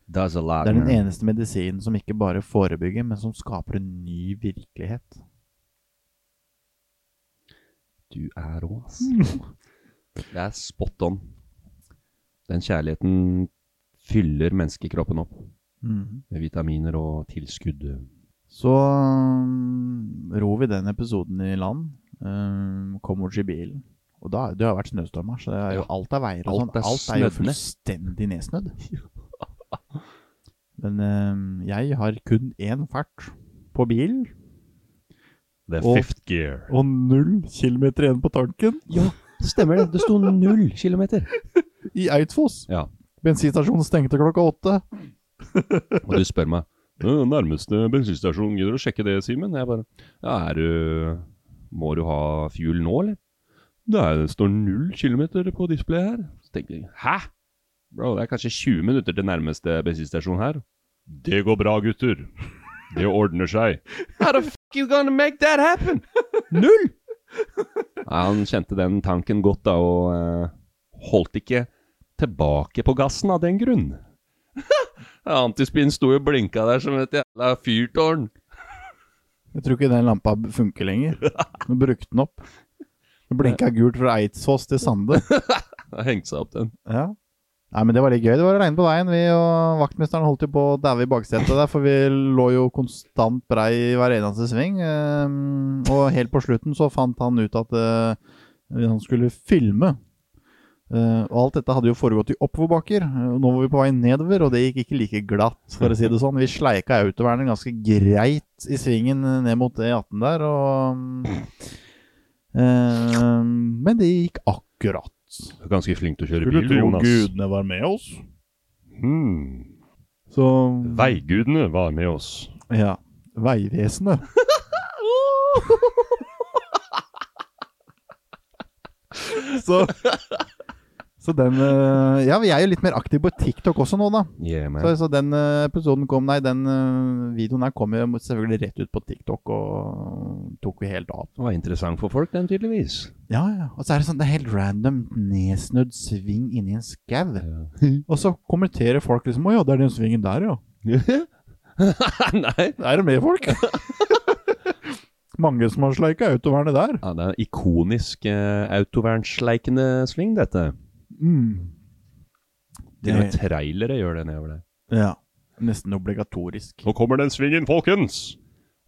S5: Does a lot.
S3: Det er den
S5: man.
S3: eneste medisinen som ikke bare forebygger, men som skaper en ny virkelighet.
S5: Du er rå, ass. Det er spot on. Den kjærligheten fyller menneskekroppen opp med vitaminer og tilskudd.
S3: Så um, ror vi den episoden i land. Um, kommer oss i bilen. Og da, det har vært snøstormer, så det er jo
S5: Ja.
S3: alt er veier og
S5: Alt
S3: sånn. Alt
S5: er
S3: er jo
S5: snødd ned.
S3: fullstendig
S5: <laughs>
S3: nedsnødd. Men um, jeg har kun én fart på bilen,
S6: The
S3: Og-
S6: fifth gear.
S3: og null kilometer igjen på tanken. Ja,
S5: Stemmer det. Det sto null kilometer.
S3: I Eidfoss.
S5: Ja.
S3: Bensinstasjonen stengte klokka åtte.
S5: <laughs> Og du spør meg «Nå, Eh, Nærmeste bensinstasjon, gidder du å sjekke det, Simen? Jeg bare Ja, er du Må du ha fuel nå, eller? Nei, det står null kilometer på displayet her. Så tenkte jeg Hæ? Bro, det er kanskje 20 minutter til nærmeste bensinstasjon her.
S6: Det går bra, gutter. Det ordner seg.
S5: <laughs> How the fuck you gonna make that happen? <laughs> Null! Nei, han kjente den tanken godt da, og eh, holdt ikke tilbake på gassen av den grunn. Antispinn sto og blinka der som et jævla fyrtårn.
S3: Jeg tror ikke den lampa b- funker lenger. Nå brukte den opp. Det blinka gult fra Eidsfoss til Sande.
S5: Det hengte seg opp den.
S3: Ja. Nei, men Det var litt gøy. Det var aleine på veien. Vi og Vaktmesteren holdt jo på å daue i baksetet der, for vi lå jo konstant brei i hver eneste sving. Ehm, Og helt på slutten så fant han ut at eh, han skulle filme. Eh, Og alt dette hadde jo foregått i oppoverbakker. og Nå var vi på vei nedover, og det gikk ikke like glatt, for å si det sånn. Vi sleika autovernet ganske greit i svingen ned mot E18 der, og eh, Men det gikk akkurat.
S5: er Ganske flink til å kjøre
S3: Skulle
S5: bil,
S3: tro
S5: Jonas.
S3: gudene var med oss.
S6: Hmm.
S3: Så
S6: Veigudene var med oss.
S3: Ja. <laughs> Vegvesenet. så Så den eh, Ja, jeg er jo litt mer aktiv på TikTok også nå, da.
S5: Yeah, man.
S3: Så, så den eh, episoden kom Nei, den eh, videoen her kom jo selvfølgelig rett ut på TikTok og tok vi helt av.
S5: Det var interessant for folk, den, tydeligvis.
S3: Ja, ja. Og så er det sånn det er helt random nedsnødd sving inni en skau. Og så kommenterer folk liksom Å ja, det er den svingen der, ja.
S5: <laughs> Nei.
S3: Er det med folk? <laughs> Mange som har sleika autovernet der.
S5: Ja, det er en ikonisk eh, autovernsleikende sving, dette. Til og med trailere gjør det nedover der.
S3: Ja. Nesten obligatorisk.
S6: Nå kommer den svingen, folkens!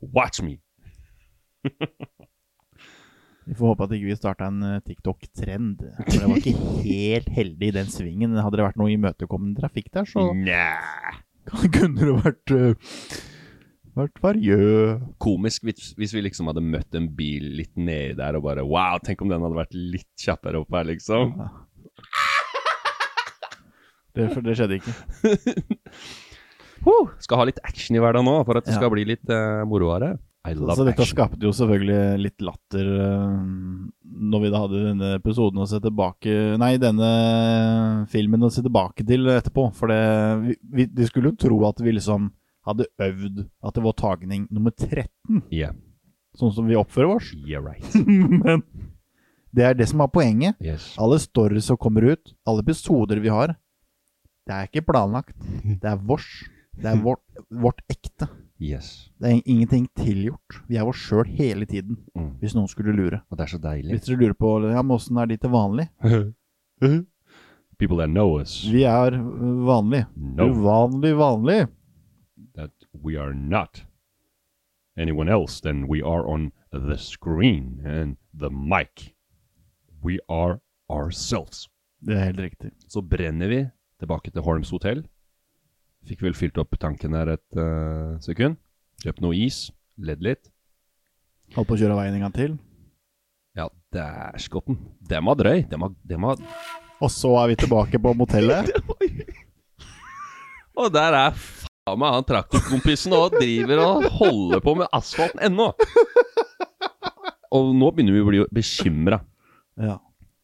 S6: Watch me!
S3: Vi får håpe at ikke vi starta en eh, TikTok-trend. For jeg var ikke helt heldig i den svingen. Hadde det vært noe imøtekommende trafikk der, så
S6: Mm. Nja
S3: <laughs> kunne det vært uh, vært variø.
S5: Komisk hvis, hvis vi liksom hadde møtt en bil litt nedi der og bare Wow, tenk om den hadde vært litt kjappere opp her, liksom.
S3: Det, for det skjedde ikke.
S5: Huh, skal ha litt action i hverdagen nå for at det
S3: Ja.
S5: skal bli litt eh, moro av det. I love
S3: Så Altså, dette
S5: action.
S3: skapte jo selvfølgelig litt latter eh, når vi da hadde denne episoden å se tilbake Nei, denne filmen å se tilbake til etterpå. For det, vi, vi, de skulle jo tro at vi liksom hadde øvd at det var tagning nummer 13,
S5: Yeah,
S3: sånn som vi oppfører oss. <laughs>
S5: yeah right. <laughs>
S3: Men det er det som er poenget.
S5: Yes.
S3: Alle stories som kommer ut, alle episoder vi har, det er ikke planlagt. Det er vårs. Det er vårt, vårt ekte.
S5: yes.
S3: Det er ingenting tilgjort. Vi er oss sjøl hele tiden,
S5: Mm.
S3: hvis noen skulle lure.
S5: Og det er så deilig.
S3: Hvis dere lurer på ja, men åssen er de til vanlig
S6: People that know us,
S3: Vi er øh, vanlig.
S6: No.
S3: Uvanlig vanlig.
S6: that we are not anyone else than we are on the screen and the mic. We are ourselves.
S3: Det er helt riktig.
S5: Så brenner vi tilbake til Holms hotell. Fikk vel fylt opp tanken her et eh, sekund. Kjøpt noe is, ledd litt.
S3: Holdt på å kjøre veien en gang til.
S5: Ja, dæskotten. Den var drøy. Den var, den var
S3: Og så er vi tilbake på
S5: <laughs>
S3: motellet.
S5: Og der er faen meg han traktorkompisen og driver og holder på med asfalten ennå. Og nå begynner vi å bli bekymra.
S3: Ja.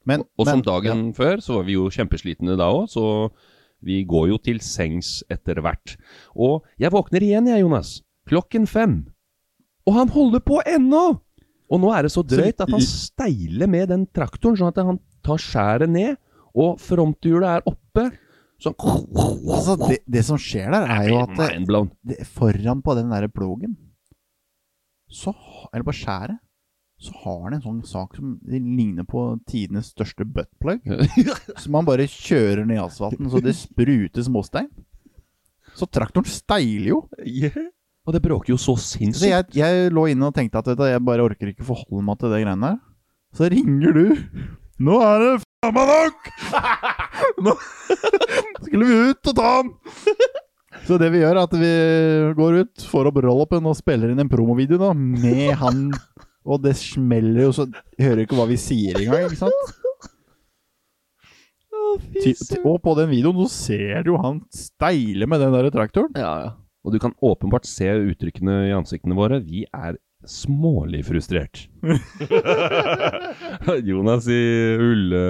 S3: Men,
S5: Og som
S3: men-
S5: dagen før så var vi jo kjempeslitne da òg, så vi går jo til sengs etter hvert. Og jeg våkner igjen jeg, Jonas. Klokken fem. Og han holder på ennå! Og nå er det så drøyt at han steiler med den traktoren, sånn at han tar skjæret ned, og fronthjulet er oppe. Sånn
S3: ja. altså, det, det som skjer der, er jo at det,
S5: Mindblown.
S3: det, foran på den der plogen, så, ha- eller på skjæret, så har han en sånn sak som ligner på tidenes største buttplug. som han bare kjører ned asfalten, så det spruter småstein. Så traktoren steiler jo.
S5: Og det bråker jo så
S3: Så
S5: sinnssykt.
S3: jeg, jeg lå inne og tenkte at vet du, jeg bare orker ikke forholde meg til det greiene der. Så ringer du. Nå er det faen meg nok! <laughs> Nå skulle vi ut og ta den! Så det vi gjør, er at vi går ut, får opp roll-upen og spiller inn en promovideo da, med han. Og det smeller jo, så hører ikke hva vi sier engang. ikke sant? Ti- ti- Og på den videoen så ser du jo han steile med den der traktoren.
S5: Ja, ja. Og du kan åpenbart se uttrykkene i ansiktene våre. Vi er smålig
S3: <laughs>
S5: frustrert. Jonas i ulle,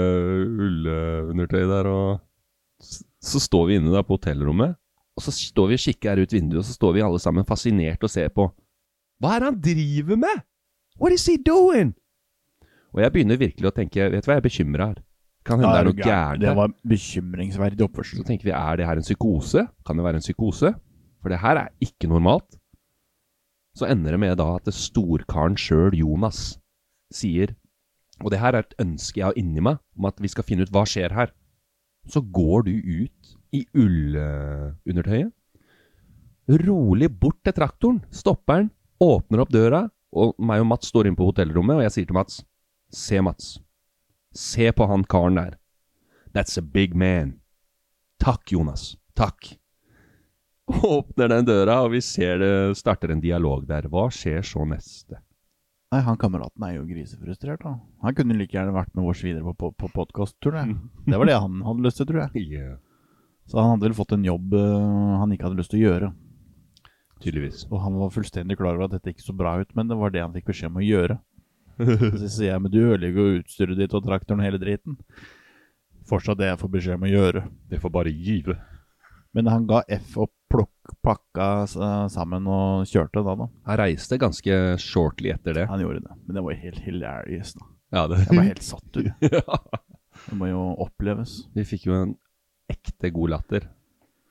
S5: ulleundertøy der, og s- så står vi inne da på hotellrommet. Og så står vi og kikker her ut vinduet, og så står vi alle sammen fascinert og ser på. Hva er det han driver med? What is he doing? Og jeg begynner virkelig å tenke, vet du hva, jeg er bekymra her. Kan hende det er noe gærent.
S3: Det
S5: her.
S3: var bekymringsverdig oppførsel.
S5: Så tenker vi, er det her en psykose? Kan det være en psykose? For det her er ikke normalt. Så ender det med da at det storkaren sjøl, Jonas, sier Og det her er et ønske jeg har inni meg, om at vi skal finne ut hva skjer her. Så går du ut i ullundertøyet, rolig bort til traktoren, stopper den, åpner opp døra, og meg og Mats står inne på hotellrommet, og jeg sier til Mats Se, Mats. Se på han karen der. That's a big man. Takk, Jonas. Takk. <laughs> Åpner den døra, og vi ser det starter en dialog der. Hva skjer så neste?
S3: Nei, han kameraten er jo grisefrustrert, da. Han kunne like gjerne vært med oss videre på, på, på podkasttur, det. Det var det han hadde lyst til, tror jeg. Så han hadde vel fått en jobb eh, han ikke hadde lyst til å gjøre.
S5: Tydeligvis.
S3: Og han var fullstendig klar over at dette ikke så bra ut, men det var det han fikk beskjed om å gjøre. Så sier jeg, men du ødelegger jo utstyret ditt og traktoren og hele driten. Fortsatt det jeg får beskjed om å gjøre.
S6: Det får bare give.
S3: Men han ga F og plukk, pakka eh, sammen og kjørte da, da.
S5: Han reiste ganske shortly etter det.
S3: Han gjorde det. Men det var jo helt hilarious, da.
S5: Ja, det.
S3: Jeg var helt satt <laughs> ut.
S5: Ja.
S3: Det må jo oppleves.
S5: Vi fikk jo en ekte god latter.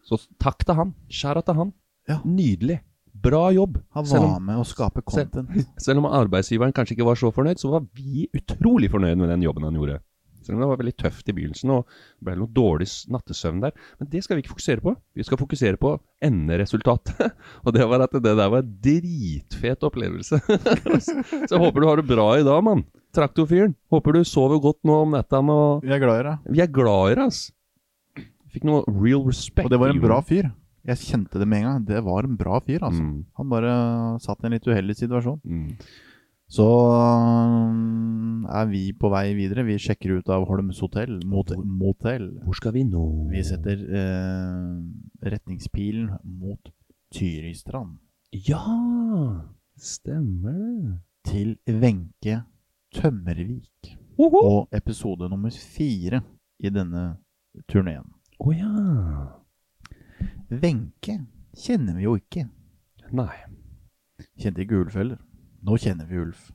S5: Så takk til han. Skjæra til han.
S3: Ja.
S5: Nydelig. Bra jobb.
S3: Han
S5: Selv
S3: var
S5: om,
S3: med å skape
S5: selv-
S3: content. <laughs>
S5: selv om arbeidsgiveren kanskje ikke var så fornøyd, så var vi utrolig fornøyd med den jobben han gjorde. Selv om det var veldig tøft i begynnelsen og det ble noe dårlig s- nattesøvn der. Men det skal vi ikke fokusere på. Vi skal fokusere på enderesultatet. <laughs> Og det var at det der var en dritfet opplevelse. <laughs> Så jeg håper du har det bra i dag, mann. Traktorfyren. Håper du sover godt nå om nettene og
S3: Vi er glad i deg.
S5: Vi er glad i deg, ass. Fikk noe real respect.
S3: Og det var en
S5: Jon.
S3: bra fyr. Jeg kjente det med en gang. Det var en bra fyr, altså.
S5: Mm.
S3: Han bare satt i en litt uheldig situasjon.
S5: Mm.
S3: Så um, er vi på vei videre. Vi sjekker ut av Holms hotell mot motell.
S5: Hvor skal vi nå?
S3: Vi setter eh, retningspilen mot Tyristrand.
S5: Ja! Stemmer det.
S3: Til Wenche Tømmervik.
S5: Oho. Å
S3: Og episode nummer fire i denne turneen.
S5: ja.
S3: Wenche kjenner vi jo ikke.
S5: Nei. <laughs>
S3: Kjente ikke Ulf heller. Nå kjenner vi Ulf.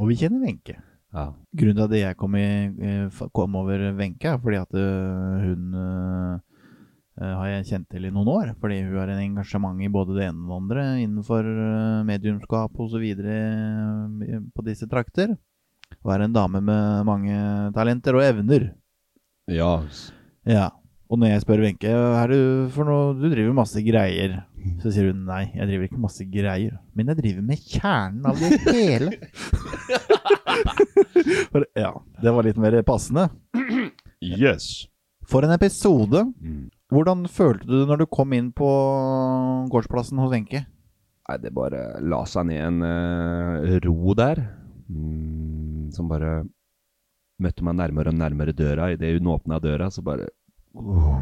S3: Og vi kjenner Wenche.
S5: ja.
S3: Grunnen til at jeg kom, i, eh, fa- kom over Wenche, er fordi at eh, hun eh, eh, har jeg kjent til i noen år. Fordi hun har en engasjement i både det ene og det andre innenfor eh, mediumskap osv. eh, på disse trakter. Og er en dame med mange talenter og evner.
S5: Ja. s-
S3: Ja. Og når jeg spør Wenche hva er det for noe du driver masse greier, så sier hun nei, jeg driver ikke masse greier, men jeg driver med kjernen av det hele. <laughs> For, ja, det var litt mer passende.
S6: Yes.
S3: For en episode.
S5: Mm.
S3: Hvordan følte du det når du kom inn på gårdsplassen hos Wenche?
S5: Nei, det bare la seg ned en eh, ro der. Mm, som bare møtte meg nærmere og nærmere døra. Idet hun åpna døra, så bare oh.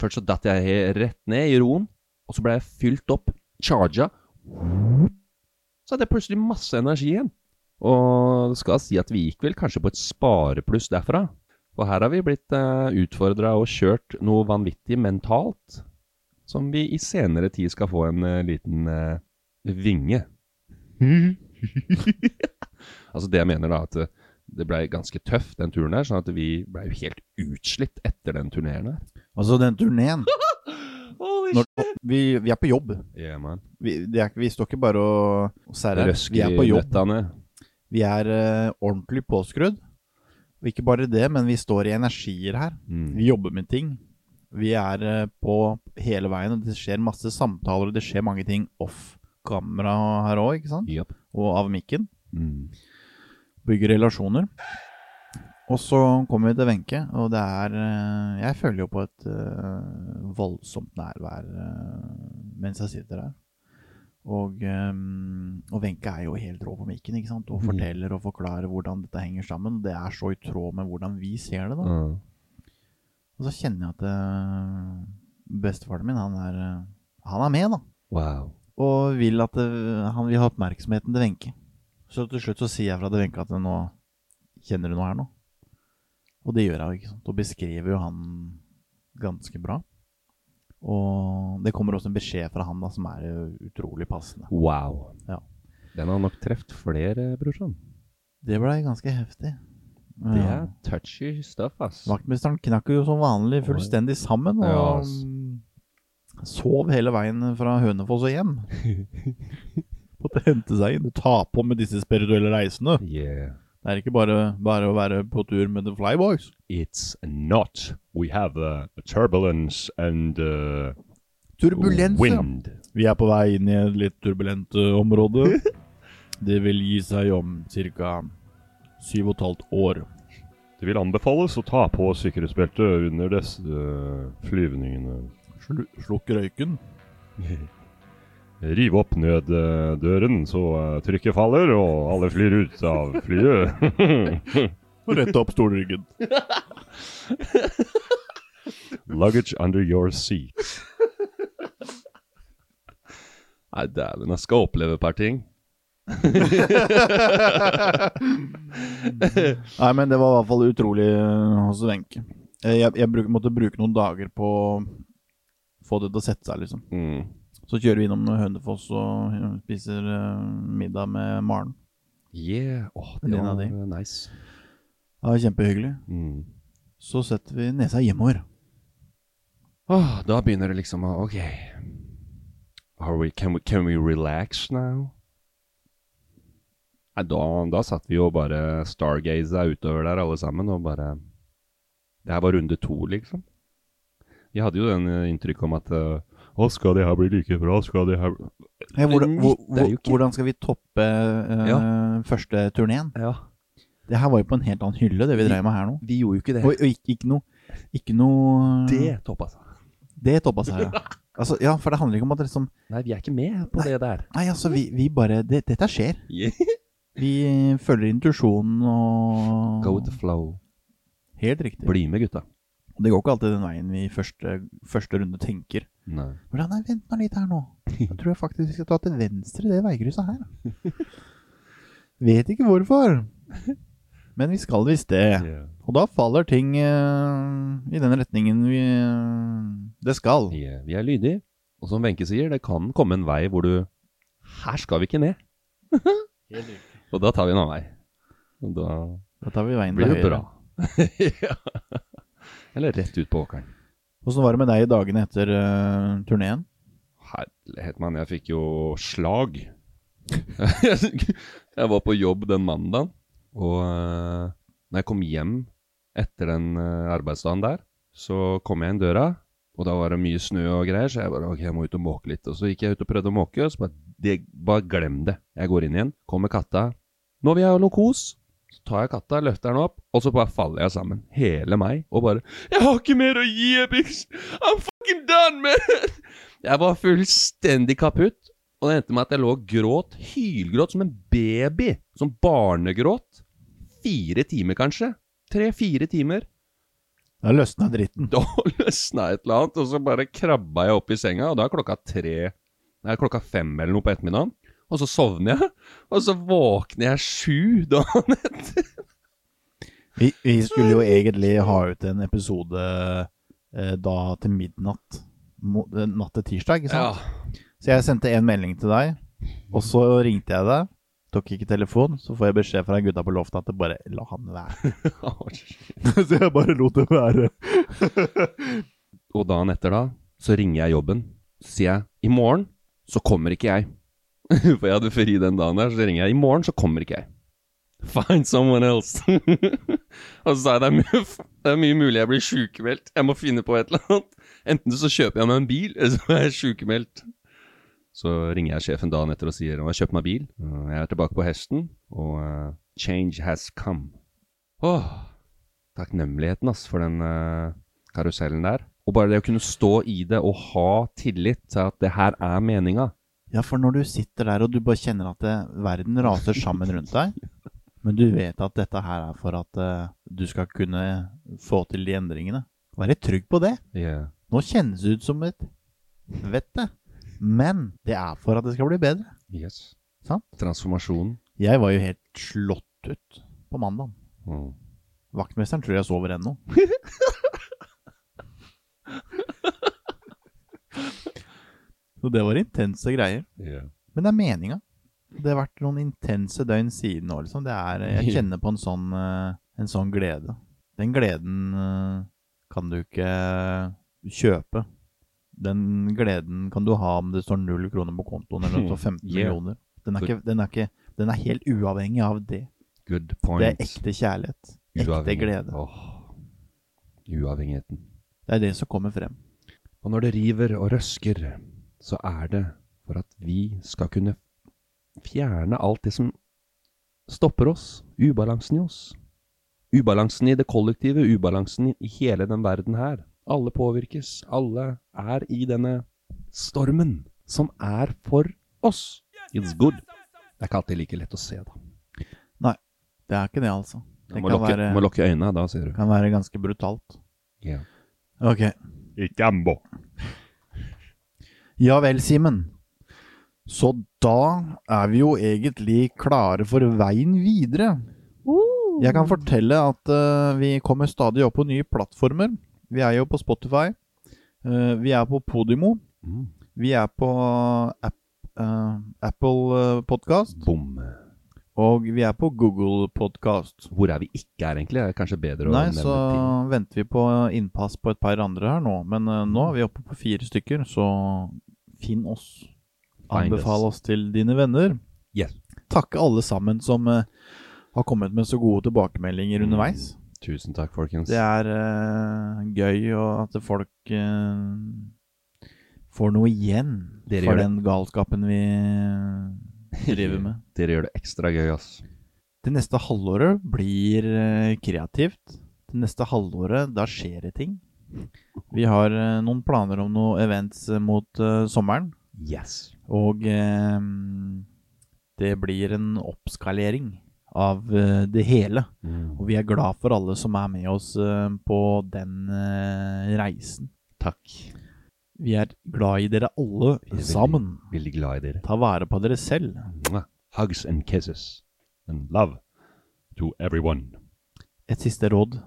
S5: Først så datt jeg he- rett ned i roen, og så ble jeg fylt opp, charga. Så hadde jeg plutselig masse energi igjen. Og det skal si at vi gikk vel kanskje på et sparepluss derfra. For her har vi blitt uh, utfordra og kjørt noe vanvittig mentalt, som vi i senere tid skal få en eh, liten eh, vinge. Mm. <laughs> altså det jeg mener da, at eh, det blei ganske tøff den turen her, sånn at vi blei jo helt utslitt etter den turneen her.
S3: Altså den turneen.
S5: <laughs> Holy
S3: Når, vi, vi er på jobb.
S5: Yeah, man.
S3: Vi, det er, ikke- vi står ikke bare og, og særer. Vi
S5: Røsker
S3: er på
S5: i
S3: jobb.
S5: nøttene.
S3: Vi er eh, ordentlig påskrudd. Og ikke bare det, men vi står i energier her.
S5: Mm.
S3: Vi jobber med ting. Vi er eh, på hele veien, og det skjer masse samtaler, og det skjer mange ting off kamera her òg, ikke sant?
S5: Yep.
S3: Og av mikken.
S5: Mm.
S3: Bygger relasjoner. Og så kommer vi til Wenche, og det er eh, Jeg føler jo på et eh, voldsomt nærvær eh, mens jeg sitter her. Og, ehm, og Wenche er jo helt rå på mikken ikke sant? og
S5: Mm.
S3: forteller og forklarer hvordan dette henger sammen. Det er så i tråd med hvordan vi ser det. da.
S5: Mm.
S3: Og så kjenner jeg at eh, bestefaren min, han er, eh, han er med, da.
S5: Wow.
S3: Og vil at eh, han vil ha oppmerksomheten til Wenche. Så til slutt så sier jeg fra til Wenche at nå kjenner du noe her nå. Og det gjør jeg jo, ikke sant. Og beskriver jo han ganske bra. Og det kommer også en beskjed fra han da, som er eh, utrolig passende.
S5: Wow.
S3: Ja.
S5: Den har nok treffet flere, brorsan.
S3: Det blei ganske heftig.
S5: Det
S3: Ja.
S5: er touchy stuff, ass.
S3: Vaktmesteren knakk jo som vanlig fullstendig sammen og
S5: Ja, ass.
S3: mm, sov hele veien fra Hønefoss og hjem.
S5: <laughs>
S3: Måtte hente seg inn. Ta på med disse spirituelle reisene.
S5: Yeah.
S3: Det er ikke bare, bare å være på tur med The Flyboys.
S6: It's not. We have uh, turbulence and uh,
S3: Turbulens, ja.
S6: wind.
S3: Vi er på vei inn i et litt turbulent eh, <laughs> område. Det vil gi seg om ca. syv og et halvt år.
S6: Det vil anbefales å ta på sikkerhetsbeltet under disse uh, flyvningene.
S3: Slu- Slukk røyken.
S6: Riv opp nøddøren så eh, trykket faller og alle flyr ut av flyet. <laughs>
S3: Og rett opp stolryggen.
S6: Luggage under your seat.
S5: Nei, dæven, jeg skal oppleve et par ting.
S3: <laughs> Nei, men det var i hvert fall utrolig øh, hos Wenche. Eh, Jeg, jeg bruk, måtte bruke noen dager på å få det til å sette seg, liksom.
S5: Mm.
S3: Så kjører vi innom Hønefoss og øh, spiser øh, middag med Maren.
S5: Yeah. Åh, det
S3: Venninna
S5: var
S3: di.
S5: eh, nice.
S3: Det var kjempehyggelig.
S5: Mm.
S3: Så setter vi nesa hjemover.
S5: Åh, da begynner det liksom å OK. Are we, can, we, can we relax now? Nei, da, da satt vi jo bare stargaza utover der alle sammen og bare Det her var runde to, liksom. Vi hadde jo den eh, inntrykk om at eh, Å, skal det her bli like bra? Skal det her bli
S3: Ja, hvordan, hvor,
S5: Det er
S3: hvor,
S5: jo ikke-
S3: hvordan skal vi toppe øh, første turneen?
S5: Ja.
S3: Det her var jo på en helt annen hylle, det vi dreier med her nå.
S5: Vi gjorde jo ikke det.
S3: Og, og ikke, ikke noe Ikke noe
S5: Det toppa seg.
S3: det toppa seg,
S5: <laughs>
S3: ja. Altså, ja, for det handler ikke om at det liksom
S5: Nei, vi er ikke med på det der.
S3: Nei, altså, vi, vi bare det, Dette
S5: <laughs>
S3: skjer. Vi følger intuisjonen og
S5: Go with the flow.
S3: Helt riktig.
S5: Bli med, gutta.
S3: Det går ikke alltid den veien vi i første, første runde tenker.
S5: Nei.
S3: Hvordan Nei, vent nå litt her nå. Jeg tror jeg faktisk vi skal ta til venstre i det veikrysset her.
S5: <laughs>
S3: Vet ikke hvorfor. Men vi skal visst det.
S5: Yeah.
S3: Og da faller ting eh, i den retningen vi eh, det skal.
S5: Vi er, vi er lydige. Og som Wenche sier, det kan komme en vei hvor du Her skal vi ikke <laughs> ned. og da tar vi en annen vei. Og da
S3: Da tar vi veien
S5: blir
S3: til
S5: det bra.
S3: høyre.
S5: <laughs> Ja. Eller rett ut på åkeren.
S3: Åssen var det med deg i dagene etter uh, turneen?
S5: Herlighet, mann. Jeg fikk jo slag. <laughs> jeg var på jobb den mandagen, og eh, når jeg kom hjem etter den eh, arbeidsdagen der, så kom jeg inn døra, og da var det mye snø og greier, så jeg bare ok, jeg må ut og måke litt. Og så gikk jeg ut og prøvde å måke, og så bare, det, bare glem det. Jeg går inn igjen, kommer katta. Nå vil jeg ha noe kos. Så tar jeg katta, løfter den opp, og så bare faller jeg sammen. Hele meg. Og bare Jeg har ikke mer å gi, Ebix! I'm fucking done, man! Jeg var fullstendig kaputt, og det endte med at jeg lå og gråt, hylgråt som en baby. Som barnegråt. Fire timer, kanskje. Tre-fire timer. <laughs>
S3: Da løsna dritten.
S5: Da løsna et eller annet, og så bare krabba jeg opp i senga, og da er klokka tre Nei, klokka fem eller noe på ettermiddagen. Og så sovner jeg, og så våkner jeg sju dagen etter.
S3: Vi, vi skulle jo egentlig ha ut en episode eh, da til midnatt. Mo- eh, Natt til tirsdag, ikke
S5: <laughs>
S3: sant? Så jeg sendte en melding til deg, og så ringte jeg deg. Tok ikke telefon, så får jeg beskjed fra gutta på loftet at det bare la han være. <laughs> så jeg bare lot det være.
S5: Og dagen etter da, så ringer jeg jobben. Så sier jeg, i morgen så kommer ikke jeg. <laughs> For jeg hadde fri den dagen der, så ringer jeg, i morgen så kommer ikke jeg. <laughs> Find someone else. <laughs> og så sa jeg, det er, mye, det er mye mulig jeg blir sykemeldt. Jeg må finne på et eller annet. <laughs> Enten så kjøper jeg meg en bil, eller så er jeg sykemeldt. Så ringer jeg sjefen dagen etter og sier, nå har jeg kjøpt meg bil. Eh, Jeg er tilbake på hesten, og eh, change has come. Åh, takknemligheten ass, for den eh, karusellen der. Og bare det å kunne stå i det og ha tillit til at det her er meninga.
S3: Ja, for når du sitter der og du bare kjenner at det, verden raser sammen rundt deg, men du vet at dette her er for at eh, du skal kunne få til de endringene. Være trygg på det.
S5: Yeah.
S3: Nå kjennes det ut som et vette, men det er for at det skal bli bedre.
S5: Yes.
S3: Sant?
S5: Transformasjon.
S3: Jeg var jo helt slått ut på mandag.
S5: Mm.
S3: Vaktmesteren tror jeg sover ennå. Så det var intense greier.
S5: Yeah.
S3: Men det er meninga. Det har vært noen intense døgn siden nå, liksom. Det er, jeg kjenner på en sånn, eh, en sånn glede. Den gleden eh, kan du ikke kjøpe. Den gleden kan du ha om det står null kroner på kontoen, eller om det står 15
S5: Yeah.
S3: millioner. Den er, ikke, den, er ikke, den er helt uavhengig av det.
S5: Good point.
S3: Det er ekte kjærlighet. Ekte
S5: Uavhengig-
S3: glede.
S5: Åh. Uavhengigheten.
S3: Det er det som kommer frem.
S5: Og når det river og røsker, så er det for at vi skal kunne fjerne alt det som stopper oss, ubalansen i oss. Ubalansen i det kollektive, ubalansen i hele den verden her. Alle påvirkes, alle er i denne stormen som er for oss. It's good. Det er ikke alltid like lett å se, da.
S3: Nei, det er ikke det, altså. Det
S5: må
S3: kan
S5: lukke,
S3: være,
S5: må lukke øynene, da, sier du.
S3: kan være ganske brutalt.
S5: Ja.
S3: Ok.
S6: Ikke Ambo.
S3: Ja vel, Simen. Så da er vi jo egentlig klare for veien videre. Jeg kan fortelle at eh, vi kommer stadig opp på nye plattformer. Vi er jo på Spotify. eh, vi er på Podimo.
S5: Mm.
S3: Vi er på app, eh, Apple eh, Podcast.
S5: Bom.
S3: Og vi er på Google Podcast.
S5: Hvor er vi ikke er, egentlig? Det er kanskje bedre å
S3: Nei,
S5: nevne
S3: så
S5: ting.
S3: venter vi på innpass på et par andre her nå. Men eh, nå er vi oppe på fire stykker, så finn oss.
S5: Find us.
S3: Anbefal oss til dine venner.
S5: Yes.
S3: Takke alle sammen som eh, har kommet med så gode tilbakemeldinger
S5: Mm.
S3: underveis.
S5: Tusen takk, folkens.
S3: Det er eh, gøy og at folk eh, får noe igjen
S5: Dere gjør
S3: for
S5: det.
S3: den galskapen vi
S5: <laughs>
S3: driver med.
S5: Dere gjør det ekstra gøy, ass.
S3: Det neste halvåret blir eh, kreativt. Det neste halvåret, da skjer det ting. Vi har eh, noen planer om noen events eh, mot eh, sommeren,
S5: Yes.
S3: og eh, det blir en oppskalering av eh, det hele.
S5: Mm.
S3: Og vi er glad for alle som er med oss eh, på den eh, reisen.
S5: Takk.
S3: Vi er glad i dere alle
S5: Vi er veldig-
S3: sammen.
S5: Veldig glad i dere.
S3: Ta vare på dere selv.
S5: Mwah. Hugs and kisses.
S6: And love to everyone.
S3: Et siste råd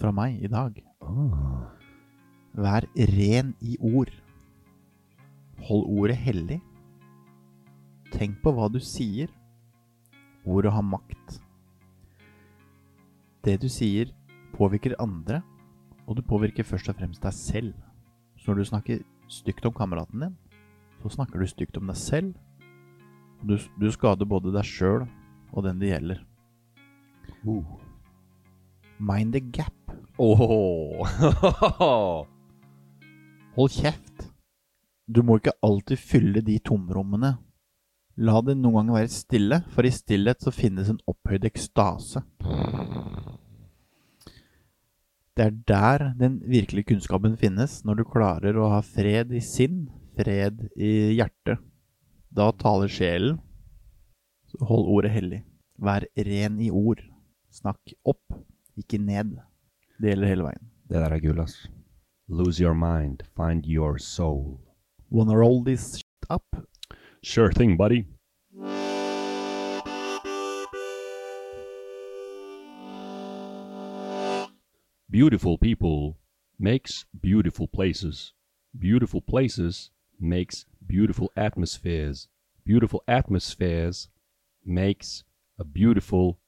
S3: fra meg i dag. Vær ren i ord. Hold ordet hellig. Tenk på hva du sier. Ordet har makt. Det du sier, påvirker andre, og du påvirker først og fremst deg selv. Så når du snakker stygt om kameraten din, så snakker du stygt om deg selv, og du, du skader både deg sjøl og den det gjelder. Mind the gap.
S5: Åh.
S3: Hold kjeft. Du må ikke alltid fylle de tomrommene. La det noen ganger være stille, for i stillhet så finnes en opphøyd ekstase. Det er der den virkelige kunnskapen finnes, når du klarer å ha fred i sinn, fred i hjertet. Da taler sjelen. Så hold ordet hellig. Vær ren i ord. Snakk opp, ikke ned. Det gjelder hele veien.
S5: Det der er gull, ass. Lose your mind, find your soul.
S3: Wanna roll this shit up?
S6: Sure thing, buddy. Beautiful people makes beautiful places. Beautiful places makes beautiful atmospheres. Beautiful atmospheres makes a beautiful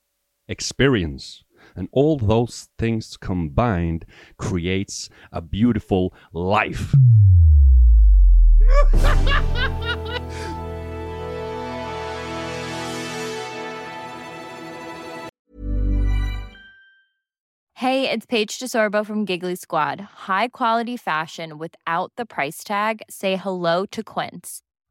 S6: experience. And all those things combined creates a beautiful life.
S5: <laughs>
S7: Hey, it's Paige DeSorbo from Giggly Squad. High quality fashion without the price tag. Say hello to Quince.